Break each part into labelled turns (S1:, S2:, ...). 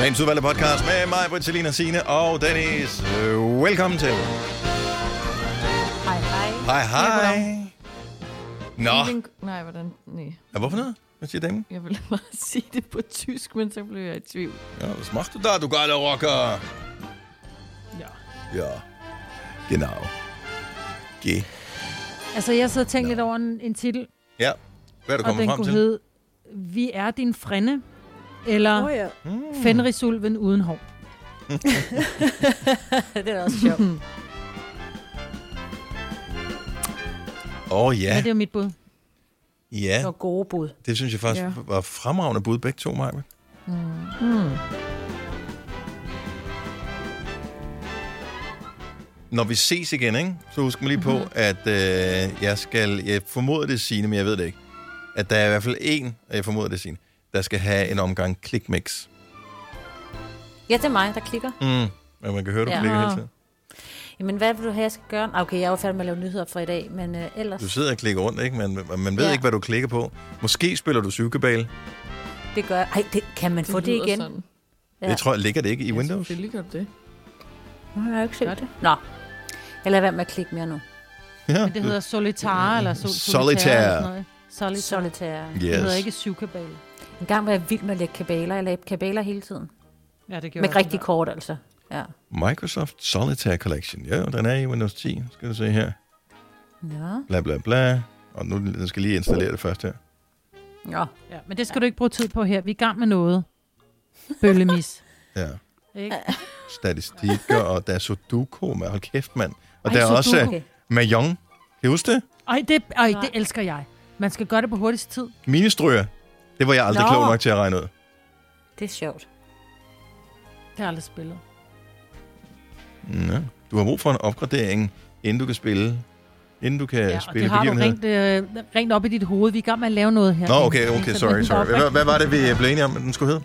S1: Dagens udvalgte podcast med mig, Britt, Selina, Signe og Dennis. Øh, Velkommen til.
S2: Hej, hej.
S1: Hej, hej. Nå,
S2: Nej, hvordan? Nej.
S1: ja, hvorfor noget? Hvad siger damen?
S2: Jeg ville bare sige det på tysk, men så blev jeg i tvivl.
S1: Ja, was machst du da, du geiler Rocker?
S2: Ja.
S1: Ja, genau. G.
S3: Altså, jeg sidder og tænker lidt over en, en titel,
S1: Ja, hvad er du
S3: og
S1: kommet
S3: den
S1: frem
S3: kunne
S1: til?
S3: hedde Vi er din frænde, eller
S4: Åh
S3: oh, ja.
S4: ja.
S1: Mm.
S3: Fenrisulven uden hår.
S4: det er også sjovt.
S1: Åh oh,
S3: Ja. ja,
S1: ja,
S3: det er mit bud.
S1: ja,
S4: Det var gode bud.
S1: det synes jeg faktisk
S4: Ja.
S1: var fremragende bud, begge to, Maja.
S2: Hmm.
S3: Mm.
S1: Når vi ses igen, ikke? så husk mig lige på,
S2: Mhm.
S1: mm-hmm. at øh, jeg skal, jeg formoder det er Signe, men jeg ved det ikke, at der er i hvert fald en, og jeg formoder det er Signe, der skal have en omgang klikmix.
S4: Ja, det er mig, der klikker.
S1: Mm. Men man kan høre, du ja.
S4: Ja.
S1: klikker hele tiden.
S4: Jamen, hvad vil du have, jeg skal gøre? Ah, Okay, jeg er jo færdig med at lave nyheder for i dag, men øh, ellers,
S1: Du sidder og klikker rundt, ikke? Men men man ved ja.
S4: Ja.
S1: ikke, hvad du klikker på. Måske spiller du syvkabale.
S4: det gør jeg. Ej, det, kan man få det
S2: lyder
S4: igen?
S2: Sådan.
S1: Ja.
S4: Ja.
S1: Det tror jeg, ligger det ikke i
S2: Ja,
S1: Windows?
S2: selvfølgelig gør det det.
S4: Nu har jeg jo ikke set det. Nå, jeg lader være med at klikke mere nu.
S1: Ja.
S3: Men det hedder Solitaire, eller sol-
S1: Solitaire.
S3: Solitaire. eller sådan noget. Solitaire. Solitaire.
S4: Solitaire.
S3: Det hedder
S1: Yes.
S3: ikke syvkabale.
S4: En gang var jeg vild med at lægge kabaler. Jeg lagde kabaler hele tiden.
S3: Ja, det gjorde
S4: Med
S3: jeg
S4: rigtig
S3: også.
S4: kort, altså. Ja.
S1: Microsoft Solitaire Collection. Ja, den er i Windows 10. Skal du se her.
S4: Nå.
S1: Bla, bla, bla. Og nu den skal jeg lige installere det først her.
S4: Nå.
S3: Ja, men det skal du ikke bruge tid på her. Vi er i gang med noget. Bøllemis.
S1: Ja.
S3: Ikke?
S1: Statistikker, og der er Sudoku. Man. Hold kæft, mand. Og
S3: Ej,
S1: der er også
S3: Sudoku.
S1: uh, Mahjong. Kan du huske det?
S3: Ej, det, ej,
S4: Nej.
S3: det elsker jeg. Man skal gøre det på hurtigst tid.
S1: Ministryger. Det var jeg aldrig
S3: Nå.
S1: klog nok til at regne ud.
S4: Det er sjovt.
S3: Det har jeg aldrig spillet.
S1: Ja. Du har brug for en opgradering, inden du kan spille. Inden du kan
S3: Ja, og
S1: spille
S3: det har du
S1: begivenheder.
S3: rent, øh, rent op i dit hoved. Vi er i gang med at lave noget her.
S1: Nå, okay, okay, sorry, sorry. Hvad, hvad var det, vi blev enige om, at den skulle hedde?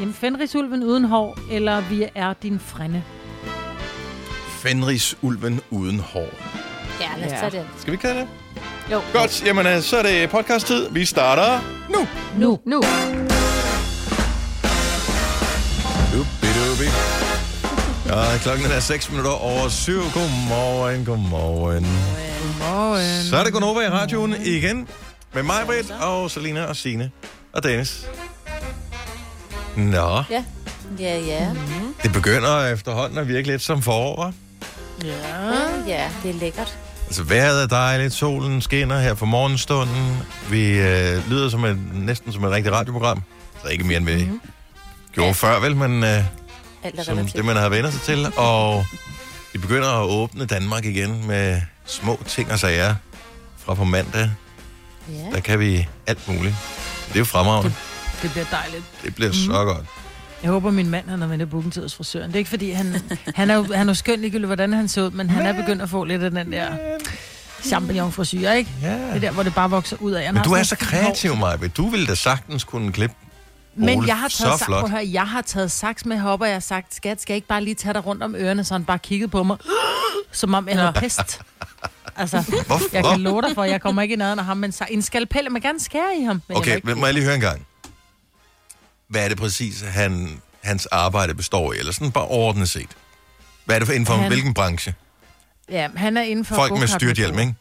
S3: Jamen, Fenrisulven uden hår, eller Vi er din frænde.
S1: Fenrisulven uden hår.
S4: Ja, lad os
S2: Ja.
S4: tage det.
S1: Skal vi ikke tage det?
S4: Jo.
S1: Godt, jamen øh, så er det podcast-tid. Vi starter nu.
S3: Nu. Nu.
S1: Dubidubi. Ja, klokken er 6 minutter over 7. Godmorgen, godmorgen.
S3: Morgen.
S1: Så er det Gunova i radioen igen. Med mig, Britt, og Selina og Sine og Dennis. Nå,
S4: Ja. Ja, ja.
S3: Mhm.
S1: det begynder efterhånden at virke lidt som forår. hva'?
S4: Ja, det er lækkert.
S1: Altså, vejret er dejligt, solen skinner her for morgenstunden. Vi øh, lyder som et, næsten som et rigtigt radioprogram. Så ikke mere end vi mm-hmm. gjorde før, vel, men øh,
S4: Alt er
S1: som det,
S4: relativt.
S1: man har vendt sig til. Og vi begynder at åbne Danmark igen med små ting og sager. Fra på mandag,
S4: Ja.
S1: der kan vi alt muligt. Det er jo fremragende.
S3: Det bliver dejligt.
S1: Det bliver så godt.
S3: Jeg håber, min mand han har vendt booken til hos frisøren. Det er ikke, fordi han... Han er jo, han er jo skøn, ligegyldigt, hvordan han ser ud, men han er begyndt at få lidt af den der champignon-frisyr, ikke?
S1: Ja.
S3: Det der, hvor det bare vokser ud af. Han
S1: Men
S3: har
S1: du er så
S3: sådan nogle fine hår.
S1: kreativ, Maja. Du ville da sagtens kunne klippe
S3: Men
S1: Ole,
S3: jeg har,
S1: så
S3: taget, sa-
S1: flot.
S3: prøv at høre, jeg har taget saks med hopper, jeg har sagt, skat, skal jeg ikke bare lige tage dig rundt om ørerne, så han bare kiggede på mig, som om jeg havde pest. Altså,
S1: Hvorfor?
S3: jeg kan love dig for, jeg kommer ikke i nærheden af ham, men så, en skalpel, man gerne skære i ham. Men jeg
S1: Okay,
S3: må ikke,
S1: men må jeg lige høre en gang? Hvad er det præcis, han, hans arbejde består i? Eller sådan bare overordnet set. Hvad er det for inden for han...
S3: Han-
S1: hvilken branche?
S3: ja, han er inden for
S1: Folk med
S3: go-kart-
S1: styrthjelm, ikke?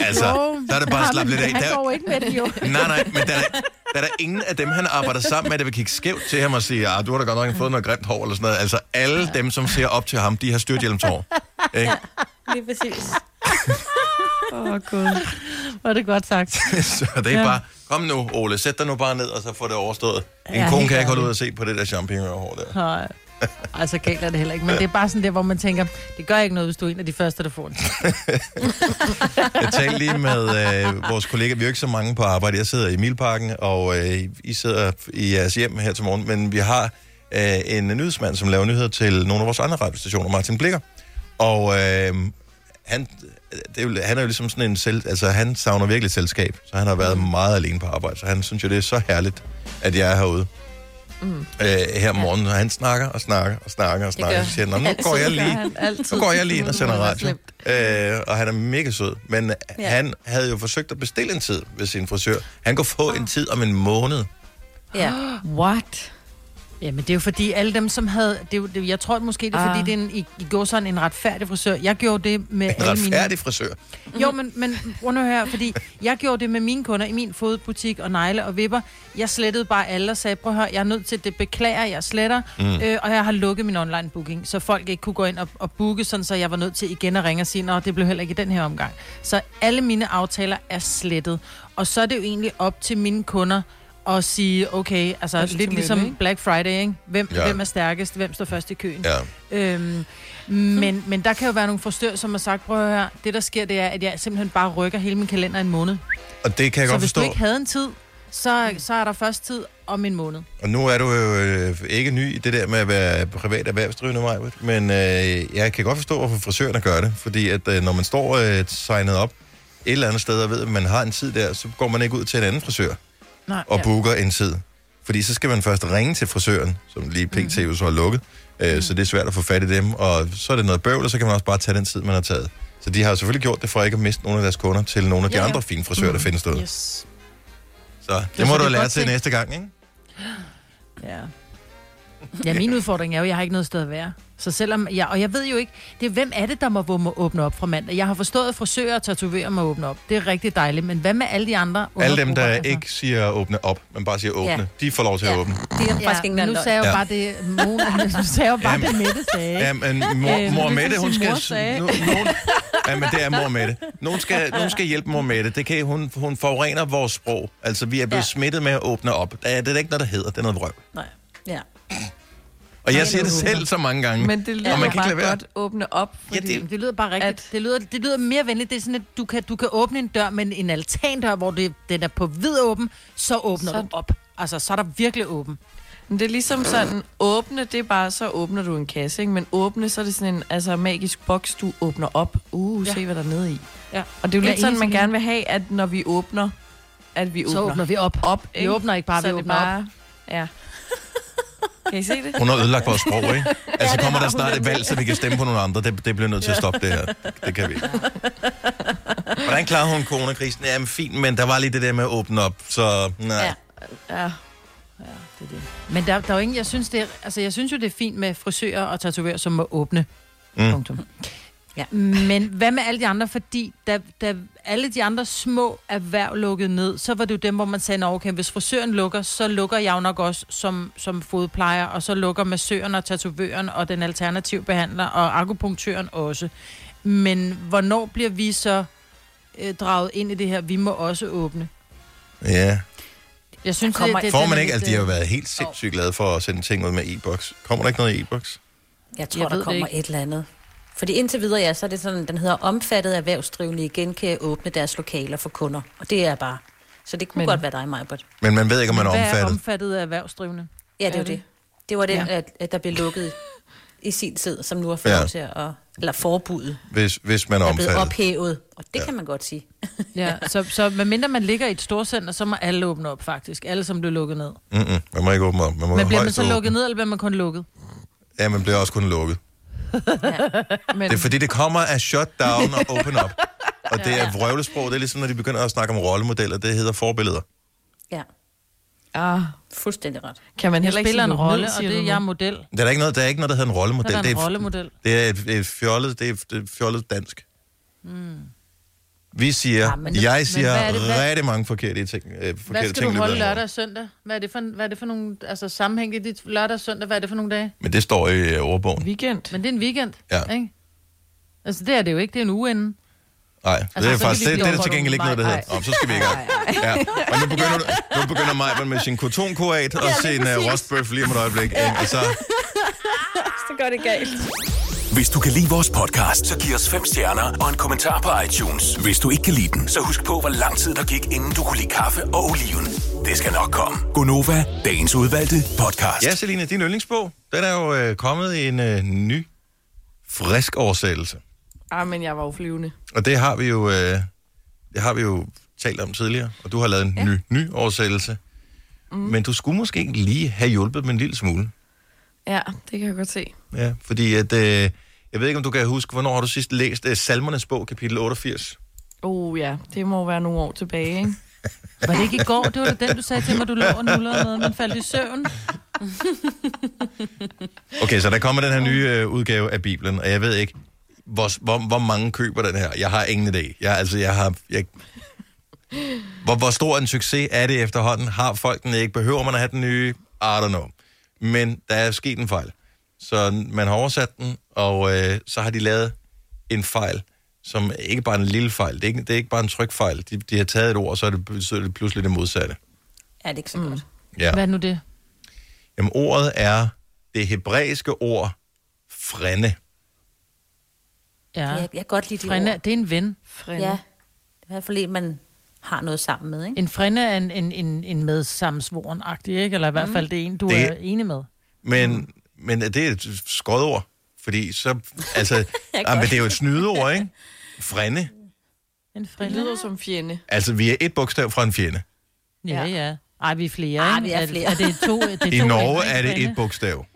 S1: Altså,
S3: Jo,
S1: der er det bare at slappe lidt af.
S3: Han
S1: Der,
S3: går jo ikke med det, jo.
S1: nej, nej, men der, er- der er der ingen af dem, han arbejder sammen med, der vil kigge skævt til ham og sige, ah, du har da godt nok fået noget grimt hår, eller sådan noget. Altså, alle dem, som ser op til ham, de har styrthjelmshår. Ikke?
S4: Lige præcis.
S2: Åh, oh, gud.
S3: Var det godt sagt.
S1: Så det er ja. bare, kom nu, Ole, sæt dig nu bare ned, og så får det overstået. En
S3: Ja,
S1: kone
S3: helt
S1: kan ikke holde
S3: ærligt.
S1: ud og se på det der champagnehår der.
S3: Nej. Altså, galt er det heller ikke. Men det er bare sådan der, hvor man tænker, det gør ikke noget, hvis du er en af de første, der får den.
S1: Jeg talte lige med øh, vores kollega, vi er jo ikke så mange på arbejde. Jeg sidder i Milparken, og øh, I sidder i jeres hjem her til morgen. Men vi har øh, en nyhedsmand, som laver nyheder til nogle af vores andre radiostationer, Martin Blikker. Og øh, han, det er jo, han er jo ligesom sådan en selv... Altså, han savner virkelig et selskab, så han har været meget alene på arbejde. Så han synes jo, det er så herligt, at jeg er herude. Mm. Øh, her om morgenen, og han snakker og snakker og snakker og snakker.
S4: gør
S1: Så siger han, "Nå, nu går jeg lige
S2: Altid.
S1: så går jeg lige ind og sender
S2: Det er
S1: radio.
S2: slemt.
S1: Øh, og han er mega sød. Men ja.
S4: Ja.
S1: han havde jo forsøgt at bestille en tid ved sin frisør. Han kunne få en tid om en måned.
S4: Ja.
S2: What?
S3: Jamen, det er jo fordi, alle dem, som havde... Det, er jo- det, jeg tror måske, det er
S2: Ah.
S3: fordi, det er en, i, i går sådan en retfærdig frisør. Jeg gjorde det med
S1: En
S3: alle mine...
S1: retfærdig frisør.
S3: Jo, men, men prøv nu her, fordi jeg gjorde det med mine kunder i min fodbutik og negle og vipper. Jeg slettede bare alle og sagde, prøv at høre, jeg er nødt til det, beklager, jeg sletter. Mm. Øh, og jeg har lukket min online booking, så folk ikke kunne gå ind og, og booke, sådan, så jeg var nødt til igen at ringe og sige, nå, det blev heller ikke i den her omgang. Så alle mine aftaler er slettet. Og så er det jo egentlig op til mine kunder at sige, okay, altså
S2: Først til
S3: lidt
S2: mølle,
S3: ligesom
S2: ikke?
S3: Black Friday, ikke? Hvem,
S1: Ja.
S3: ja. hvem er stærkest, hvem står først i køen.
S1: Ja.
S3: Øhm, men, men der kan jo være nogle forstørrelser, som har sagt, prøv at høre, det der sker, det er, at jeg simpelthen bare rykker hele min kalender en måned.
S1: Og det kan jeg
S3: så
S1: godt
S3: hvis
S1: forstå.
S3: du ikke havde en tid, så, så er der først tid om en måned.
S1: Og nu er du jo øh, ikke ny i det der med at være privat erhvervsdrivende, Majbert, men øh, jeg kan godt forstå, hvorfor frisørerne gør det. Fordi at øh, når man står øh, signet op et eller andet sted og ved, at man har en tid der, så går man ikke ud til en anden frisør
S3: Nej,
S1: og booker en tid. Fordi så skal man først ringe til frisøren, som lige pt. jo så har lukket. Øh, Så det er svært at få fat i dem, og så er det noget bøvl, og så kan man også bare tage den tid, man har taget. Så de har selvfølgelig gjort det for ikke at miste nogle af deres kunder til nogle af de
S2: Ja, ja.
S1: andre fine frisører, der findes derude.
S3: Yes.
S1: Så det,
S3: så
S1: må
S3: det
S1: du
S3: er
S1: lære
S3: godt
S1: til
S3: tænkt.
S1: næste gang, ikke?
S3: Ja. ja, min udfordring er jo, at jeg har ikke noget sted at være. Så selvom jeg, og jeg ved jo ikke, det er, hvem er det, der må, hvor må åbne op fra mandag? Jeg har forstået, at frisører og tatoverer må åbne op. Det er rigtig dejligt, men hvad med alle de andre
S1: Alle dem,
S3: undergrupper,
S1: der
S3: altså?
S1: ikke siger åbne op, men bare siger åbne,
S4: Ja.
S1: de får lov til at
S4: Ja.
S1: åbne.
S4: Det er faktisk
S3: men
S4: ikke
S3: nu
S4: engang
S3: sagde jeg jo
S1: Ja.
S3: bare det, Mona, nu sagde jeg jo bare
S1: Jamen.
S3: det, Mette sagde.
S1: Ja, men mor,
S3: Øh,
S1: mor
S3: det
S1: Mette, hun
S2: sin
S1: skal...
S2: mor sagde.
S1: Nu, nogen, ja, men det er mor Mette. Nogen skal, nogen skal hjælpe mor Mette. Det kan, hun, hun forurener vores sprog. Altså, vi er blevet ja.
S4: Ja.
S1: smittet med at åbne op. Det er, det er ikke noget, der hedder. Det er noget vrøv.
S4: Nej. Ja.
S1: Og jeg
S2: Nej,
S1: siger det
S2: det er
S1: selv så mange gange.
S2: Men det lyder
S1: og man
S2: ja,
S1: kan ikke lade
S2: bare
S1: være.
S2: godt åbne op, fordi
S1: Ja,
S2: ja,
S1: det-
S2: det,
S3: Jamen, det lyder bare rigtigt.
S2: At-
S3: At... Det, lyder, det lyder mere venligt. Det er sådan, at du kan, du kan åbne en dør, men en altandør, hvor det, den er på vid åben, så åbner så...
S2: Så-
S3: du op. Altså, så er der virkelig åben.
S2: men det er ligesom sådan, åbne, det er bare, så åbner du en kasse, ikke? Men åbne, så er det sådan en altså, magisk boks, du åbner op. Uh, ja.
S3: Ja.
S2: se hvad der er nede i.
S3: Ja.
S2: Og det er jo
S3: Ja,
S2: lidt sådan,
S3: enig,
S2: man
S3: enig.
S2: gerne vil have, at når vi åbner, at vi åbner.
S3: Så åbner vi op.
S2: op,
S3: Vi åbner ikke bare,
S2: så
S3: vi
S2: det
S3: åbner
S2: bare... op. Ja. Kan I se det?
S1: Hun har ødelagt vores sprog, ikke? Altså,
S3: det
S1: kommer der
S3: har
S1: snart
S3: hun
S1: et valg, så vi kan stemme på nogle andre. Det, det bliver nødt til at stoppe det her. Det kan vi ikke. Hvordan klarer hun coronakrisen? Jamen, fint, men der var lige det der med at åbne op, så... Nej. Ja.
S4: Ja.
S2: Ja.
S3: Men der, der er jo ingen, jeg synes, det er, altså, jeg synes jo, det er fint med frisører og tatovører, som må åbne. Mm. Punktum.
S4: Ja.
S3: Men hvad med alle de andre? Fordi da, da alle de andre små erhverv lukkede ned, så var det jo dem, hvor man sagde, "Nå, okay, hvis frisøren lukker, så lukker jeg jo nok også som, som fodplejer, og så lukker massøren og tatovøren og den alternative behandler og akupunktøren også. Men hvornår bliver vi så øh, draget ind i det her? Vi må også åbne.
S1: ja.
S3: Jeg synes,
S4: Kommer-
S3: det, det,
S1: Får
S3: den
S1: man
S3: er
S1: ikke?
S3: lidt,
S1: Altså, de har jo
S3: øh,
S1: været helt sindssygt glade for at sende ting ud med e-boks. Kommer der ikke noget i e-boks?
S4: Jeg tror,
S3: Jeg ved
S4: jeg der
S3: det
S4: kommer
S3: ikke.
S4: et eller andet. Fordi indtil videre, ja, så er det sådan, den hedder omfattet erhvervsdrivende igen kan åbne deres lokaler for kunder. Og det er bare... Så det kunne
S2: Men-
S4: Men. godt være dig, Majbert.
S1: Men man ved ikke, om man er
S3: Hvad er
S1: omfattet.
S3: omfattet af erhvervsdrivende?
S4: Ja, det er
S2: Er
S4: jo
S2: det?
S4: det. Det var den,
S3: Ja.
S4: ja. at, at der blev lukket i sin tid, som nu er fået
S1: Ja.
S4: ja. til at... Eller forbuddet
S1: Hvis, hvis man er
S4: er blevet
S1: omfattet.
S4: ophævet. Og det
S1: Ja.
S4: ja. kan man godt sige.
S3: Ja, så, så medmindre man ligger i et storcenter, så må alle åbne op faktisk. Alle, som blev lukket ned.
S1: Mm-mm, man må ikke åbne op. Man må
S3: Men bliver man
S1: højst
S3: så
S1: åbne.
S3: lukket ned, eller bliver man kun lukket?
S1: Ja, man bliver også kun lukket.
S2: Men,
S1: Det er fordi, det kommer af shutdown og open up. Og det er vrøvlesprog. Det er ligesom, når de begynder at snakke om rollemodeller. Det hedder forbilleder.
S4: Ja,
S2: ah,
S4: fuldstændig ret.
S2: kan man
S3: Jeg
S2: heller ikke
S3: spiller
S2: sige
S3: en
S2: lukke ned,
S3: rolle, og
S2: siger
S3: det
S2: du
S3: er
S2: nu?
S3: jeg er model. Så
S1: Der er ikke noget, der, er ikke noget, der hedder en rollemodel.
S3: er der
S1: det
S3: en
S1: er,
S3: rollemodel.
S1: Det er et, et fjollet, det er, et- det er fjollet dansk. Mm. Vi siger, ja,
S4: Ja, men det-
S1: jeg
S4: men
S1: siger
S3: hvad er det, hvad-
S1: rigtig mange forkerte ting. Øh, forkerte
S3: Hvad skal
S1: ting, i
S3: du
S1: løbet af
S3: holde
S1: en år.
S3: lørdag og søndag? Hvad er det for, hvad er det for nogle altså, sammenhæng i dit lørdag og søndag? Hvad er det for nogle dage?
S1: Men det står i øh, ordbogen.
S2: Weekend.
S3: Men det er en weekend,
S1: Ja.
S3: ikke? Altså, det er det jo ikke. Det er en uge inden.
S1: Nej, altså, det er
S3: så kan
S1: faktisk,
S3: vi
S1: det, det
S3: blive
S1: er der til
S3: overholdt.
S1: gengæld ikke noget, der
S3: Nej,
S1: hedder. Om, så skal vi i gang. Ja. Og nu begynder, du- nu begynder mig med sin kotonkorat og sin uh, rostbøf lige om et øjeblik. Ja. Og så,
S4: Så gør det galt.
S5: Hvis du kan lide vores podcast, så giv os fem stjerner og en kommentar på iTunes. Hvis du ikke kan lide den, så husk på, hvor lang tid der gik, inden du kunne lide kaffe og oliven. Det skal nok komme. Gonova, dagens udvalgte podcast.
S1: ja, Selina, din yndlingsbog, den er jo øh, kommet i en øh, ny, frisk oversættelse.
S2: Ah, men jeg var jo flyvende.
S1: Og det har vi jo, øh, det har vi jo talt om tidligere, og du har lavet en ja. ny, ny oversættelse. Mm. Men du skulle måske ikke lige have hjulpet med en lille smule.
S2: Ja, det kan jeg godt se.
S1: Ja, fordi at, øh, jeg ved ikke, om du kan huske, hvornår har du sidst læst øh, Salmernes bog, kapitel 88?
S2: Oh ja, det må være nogle år tilbage, ikke?
S3: Var det ikke i går? Det var da den, du sagde til mig, du lå og nullede med, men faldt i søvn.
S1: Okay, så der kommer den her nye øh, udgave af Bibelen, og jeg ved ikke, hvor, hvor, hvor mange køber den her. Jeg har ingen idé. Jeg, altså, jeg har... Jeg... Hvor, hvor stor en succes er det efterhånden? Har folk den ikke? Behøver man at have den nye? I don't know. Men der er sket en fejl. Så man har oversat den, og øh, så har de lavet en fejl, som er ikke bare en lille fejl. Det er ikke, det er ikke bare en trykfejl. De, de har taget et ord, og så er det, betyder det pludselig det modsatte.
S4: Ja, det er ikke så godt.
S1: Ja.
S3: Mm. Hvad er nu det?
S1: Jamen, ordet er det hebraiske ord frænde.
S3: Ja.
S4: Jeg, jeg kan godt lide det
S3: Frænde,
S4: ord.
S3: det er en ven.
S4: Ja. Det er i hvert fald en, man har noget sammen med, ikke?
S3: En frænde er en, en, en, en medsammensvoren ikke? Eller i hvert fald det er en, du
S1: Det-
S3: er enig med. Mm.
S1: Men, men er det et skodord? Fordi så, altså, jamen,
S4: godt.
S1: det er jo et snydeord, ikke? Frænde.
S3: En
S2: Det
S3: frænde.
S2: lyder som fjende.
S1: Altså, vi er et bogstav fra en fjende.
S3: Ja, ja. Ej, vi er flere,
S4: Ej,
S3: ikke?
S4: vi er flere.
S3: Er, er det to, det er
S1: I
S3: to
S1: Norge
S3: ikke?
S1: er det
S3: Frænde.
S1: et bogstav.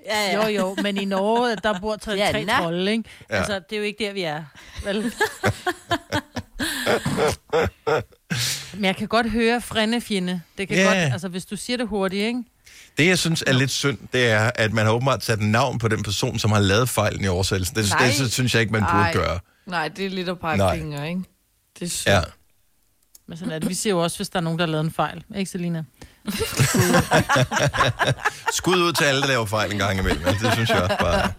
S3: Jo,
S4: Ja,
S3: jo, men i Norge, der bor tre,
S4: Ja,
S3: ja, tre
S4: nå.
S3: trolde, ikke?
S1: Ja.
S3: Ja. Altså, det er jo ikke der, vi er, vel? men jeg kan godt høre frændefjende. Det kan
S1: Ja.
S3: yeah. godt, altså hvis du siger det hurtigt, ikke?
S1: Det, jeg synes er lidt synd, det er, at man har åbenbart sat navn på den person, som har lavet fejlen i oversættelsen. Det,
S2: Nej.
S1: det, det synes jeg ikke, man burde
S2: Nej.
S1: gøre.
S2: Nej, det er lidt at pakke
S1: Nej.
S2: fingre, ikke? Det er sygt.
S1: Ja.
S2: Ja.
S3: Men sådan er det. Vi ser jo også, hvis der er nogen, der har lavet en fejl. Ikke, Selina?
S1: Skud ud til alle, der laver fejl en gang imellem. Altså, det synes jeg også bare.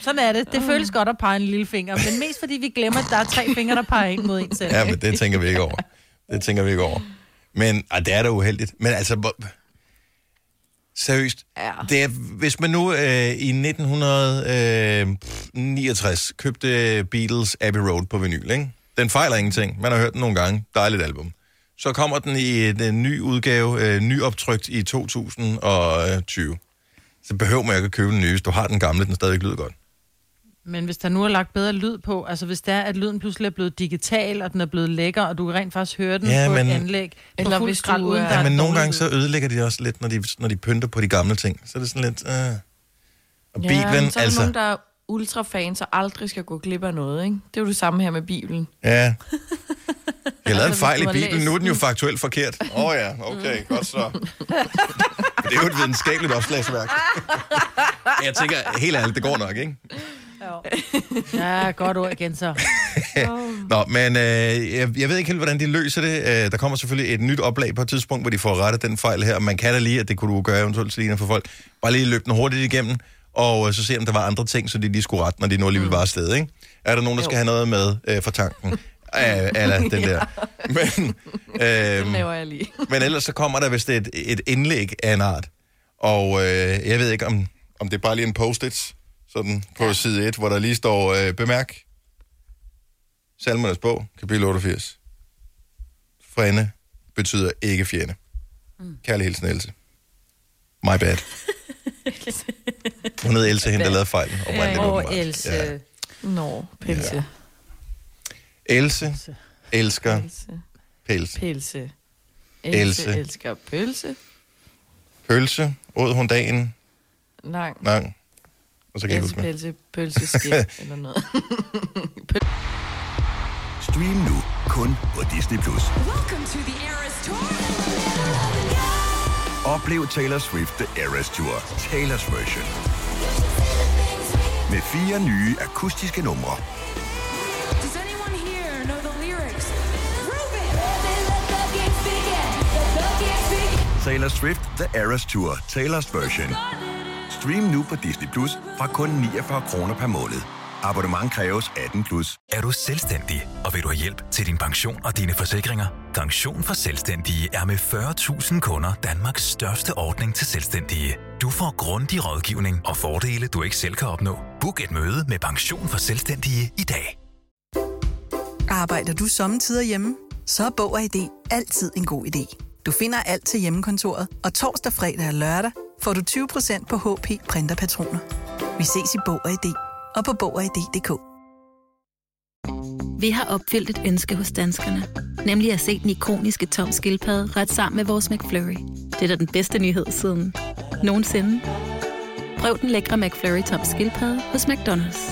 S3: Sådan er det. Det føles godt at pege en lille finger, men mest fordi vi glemmer, at der er tre fingre, der peger ind mod en selv.
S1: Ja, men det tænker vi ikke over. Det tænker vi ikke over. Men ah, det er da uheldigt. Men altså, hvor... seriøst.
S2: Ja.
S1: Det er, hvis man nu øh, i 1969 købte Beatles Abbey Road på vinyl, ikke? den fejler ingenting. Man har hørt den nogle gange. Dejligt album. Så kommer den i den nye udgave, øh, nyoptrykt i 2020. øh, Så behøver man ikke at købe den nye, hvis du har den gamle, den stadig lyder godt.
S3: Men hvis der nu er lagt bedre lyd på, altså hvis der er, at lyden pludselig er blevet digital, og den er blevet lækker, og du kan rent faktisk høre den
S1: Ja,
S3: på
S1: men-
S3: et anlæg, på
S2: Eller
S3: fuld
S2: hvis du
S3: skrald, uden
S2: er-
S3: der
S2: Ja,
S3: er
S1: Ja, men
S3: en
S1: nogle
S3: dårlig
S1: gange
S3: lyd.
S1: så ødelægger de også lidt, når de, når de pynter på de gamle ting. Så er det sådan lidt... Øh. Og
S2: Ja,
S1: Bibelen,
S2: men så er der
S1: altså...
S2: nogen, der er ultrafans og aldrig skal gå glip af noget, ikke? Det er jo det samme her med Bibelen.
S1: Ja. Jeg lavede en
S2: Altså, hvis
S1: fejl i
S2: du har
S1: Bibelen,
S2: læst Mm.
S1: nu er den jo faktuelt forkert. Åh oh, ja, okay, godt så. det er jo et videnskabeligt opslagsværk. Jeg tænker, helt ærligt, det går nok, ikke?
S3: Ja, godt ord igen så.
S1: Nå, men øh, jeg, jeg ved ikke helt, hvordan de løser det. Øh, der kommer selvfølgelig et nyt oplag på et tidspunkt, hvor de får rettet den fejl her. Man kan da lige, at det kunne du gøre eventuelt, Selina, for folk. Bare lige løbe den hurtigt igennem, og øh, så se, om der var andre ting, så de lige skulle rette, når de nu
S2: Mm.
S1: alligevel var afsted, ikke? Er der nogen, der skal have noget med øh, for tanken? Øh, eller den der. Men,
S2: Den
S1: øh,
S2: laver jeg lige.
S1: men ellers så kommer der vist et, et indlæg af en art. Og øh, jeg ved ikke, om, om det er bare lige en post-it, sådan på ja. side 1, hvor der lige står, øh, bemærk, Salmernes bog, kapitel 88. Frænde betyder ikke fjende. Mm. Kærlig hilsen, Else. My bad. Hun hed Else, hende der lavede fejlen. oprindeligt,
S4: Åh,
S1: åbenbart.
S4: Else.
S1: Ja.
S4: Ja.
S2: Nå, pelse. Ja.
S1: Else elsker
S2: Pelse.
S1: pels.
S2: Pelse.
S1: Else.
S2: Else elsker pølse.
S1: Pølse, åd hun dagen,
S2: Lang.
S1: lang. Og så kan jeg ikke
S2: Else,
S1: huske mere.
S2: pelse, pølse, skib, eller noget.
S5: Stream nu kun på Disney+. Plus. Oplev Taylor Swift The Eras Tour, Taylor's version. Med fire nye akustiske numre.
S6: Does anyone here know the lyrics?
S5: Taylor Swift The Eras Tour, Taylor's version. Stream nu på Disney Plus fra kun 49 kroner per måned. Abonnement kræves 18 plus.
S7: Er du selvstændig, og vil du have hjælp til din pension og dine forsikringer? Pension for Selvstændige er med 40.000 kunder Danmarks største ordning til selvstændige. Du får grundig rådgivning og fordele, du ikke selv kan opnå. Book et møde med Pension for Selvstændige i dag.
S8: Arbejder du sommetider hjemme? Så er Bog og ID altid en god idé. Du finder alt til hjemmekontoret, og torsdag, fredag og lørdag får du 20% på HP printerpatroner. Vi ses i Bog og ID og på Bog og ID.dk.
S9: Vi har opfyldt et ønske hos danskerne. Nemlig at se den ikoniske tom skildpadde ret sammen med vores McFlurry. Det er da den bedste nyhed siden nogensinde. Prøv den lækre McFlurry tom skildpadde hos McDonald's.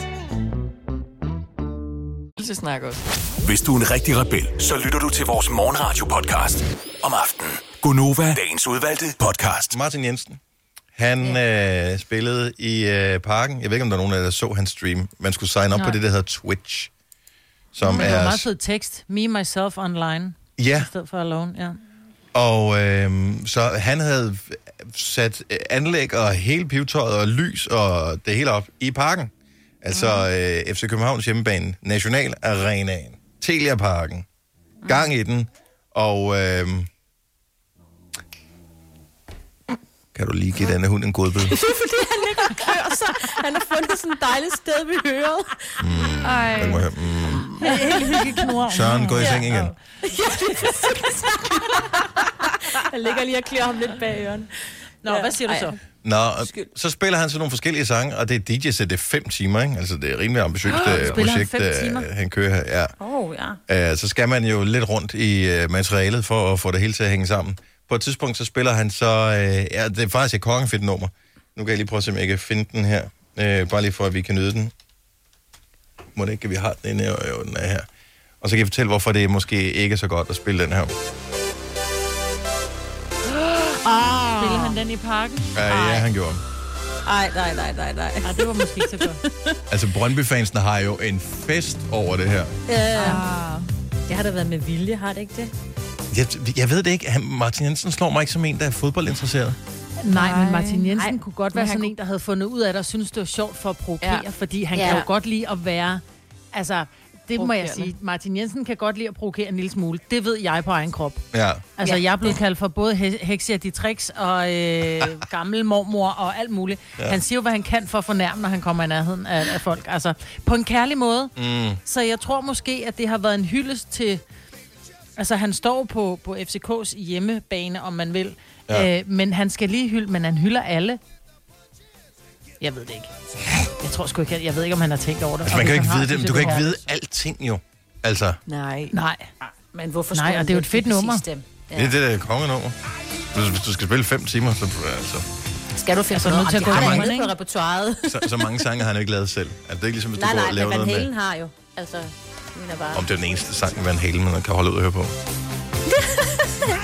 S2: Pølse snakker også.
S5: Hvis du er en rigtig rebel,
S7: Så lytter du til vores morgenradio-podcast om aftenen.
S5: Gonova, dagens udvalgte podcast.
S1: Martin Jensen. Han øh, spillede i øh, parken. Jeg ved ikke, om der er nogen af jer, der så hans stream. Man skulle signe op
S3: Nej.
S1: på det, der hedder Twitch. Som
S3: Men det var
S1: er...
S3: meget fed tekst. Me, myself, online.
S1: Ja,
S3: I stedet for alone, ja.
S1: og øh, så han havde sat øh, anlæg og hele pivetøjet og lys og det hele op i parken. Altså øh, FC Københavns hjemmebane, National Arenaen, Telia Parken. Gang i den. Og øh, kan du lige give denne hund en godbid?
S4: Det er fordi, han ligger og klør sig. Han har fundet sådan et dejligt sted ved høret.
S1: Den må jeg- Mm. Søren, gå i seng igen.
S4: Han ligger lige og klør ham lidt bag ørerne.
S3: Nå, hvad siger du så?
S1: Nå, og så spiller han så nogle forskellige sange, og det er DJ-sæt, det er fem timer, ikke? Altså, det er rimelig ambitiøst oh, projekt,
S3: spiller han fem
S1: øh,
S3: timer?
S1: han kører her. Ja.
S4: Åh, oh, ja.
S1: Øh, så skal man jo lidt rundt i øh, materialet for at få det hele til at hænge sammen. På et tidspunkt, så spiller han så... Øh, ja, det er faktisk et kongefedt nummer. Nu kan jeg lige prøve at se, om jeg kan finde den her. Øh, bare lige for, at vi kan nyde den. Må det ikke, at vi har den inde? Jo, jo, den er her. Og så kan jeg fortælle, hvorfor det måske ikke er så godt at spille den her.
S3: Spiller han den i parken?
S1: Ja, Ah, ja han gjorde.
S4: Ej, nej, nej, nej, nej.
S3: Ja, det var måske ikke så godt.
S1: Altså, Brøndby-fansene har jo en fest over det her.
S4: Ah. Det har da været med vilje, har det ikke det?
S1: Jeg, jeg ved det ikke. Han, Martin Jensen slår mig ikke som en, der er fodboldinteresseret.
S3: Nej, men Martin Jensen
S4: Nej,
S3: kunne godt være
S4: men han
S3: sådan
S4: kunne-
S3: en, der havde fundet ud af det, og synes det var sjovt for at provokere,
S2: Ja.
S3: ja. fordi han
S4: Ja.
S3: ja. kan jo godt lide at være... Altså, det må jeg
S2: Provokerende.
S3: sige. Martin Jensen kan godt lide at provokere en lille smule. Det ved jeg på egen krop.
S1: Ja.
S3: Altså,
S4: Ja.
S3: ja. jeg er blevet kaldt for både he- hekser de tricks og øh, gammel mormor og alt muligt. Ja. Han siger jo, hvad han kan for at fornærme, når han kommer i nærheden af, af folk. Altså, på en kærlig måde. Mm. Så jeg tror måske, at det har været en hyldest til... Altså, han står på, på FCK's hjemmebane, om man vil.
S1: Ja.
S3: Ja. Øh, men han skal lige hylde, men han hylder alle. Jeg ved det ikke. Jeg tror sgu ikke, jeg, jeg ved ikke, om han har tænkt over det.
S1: Altså,
S3: Og
S1: man kan jo
S3: hvis
S1: ikke
S3: han har,
S1: vide
S3: så
S1: det, men
S3: synes
S1: du kan
S3: jeg,
S1: ikke
S3: det er
S1: vide alting jo. Altså, det
S2: Nej.
S3: Nej.
S4: Men hvorfor
S3: Nej,
S4: skulle
S3: og
S4: han
S3: det er jo et fedt
S4: vælge præcis
S3: nummer.
S4: dem? Ja.
S1: er det der kongenummer. Hvis, hvis du skal spille fem timer, så, altså,
S4: Skal du finde
S3: Altså,
S4: på
S3: nødt til at
S4: noget? Jamen, det
S3: gå
S4: har
S3: i
S4: man
S3: gang,
S4: ikke på
S3: ikke?
S4: repertoireet.
S1: så, så mange sange har han jo ikke lavet selv. Altså, det er ikke ligesom, hvis du
S4: Nej,
S1: går
S4: nej, men
S1: og laver
S4: Van
S1: noget
S4: Halen
S1: med.
S4: har jo. Altså, min er bare...
S1: Om det er den eneste sang, Van Halen, man kan holde ud og høre på.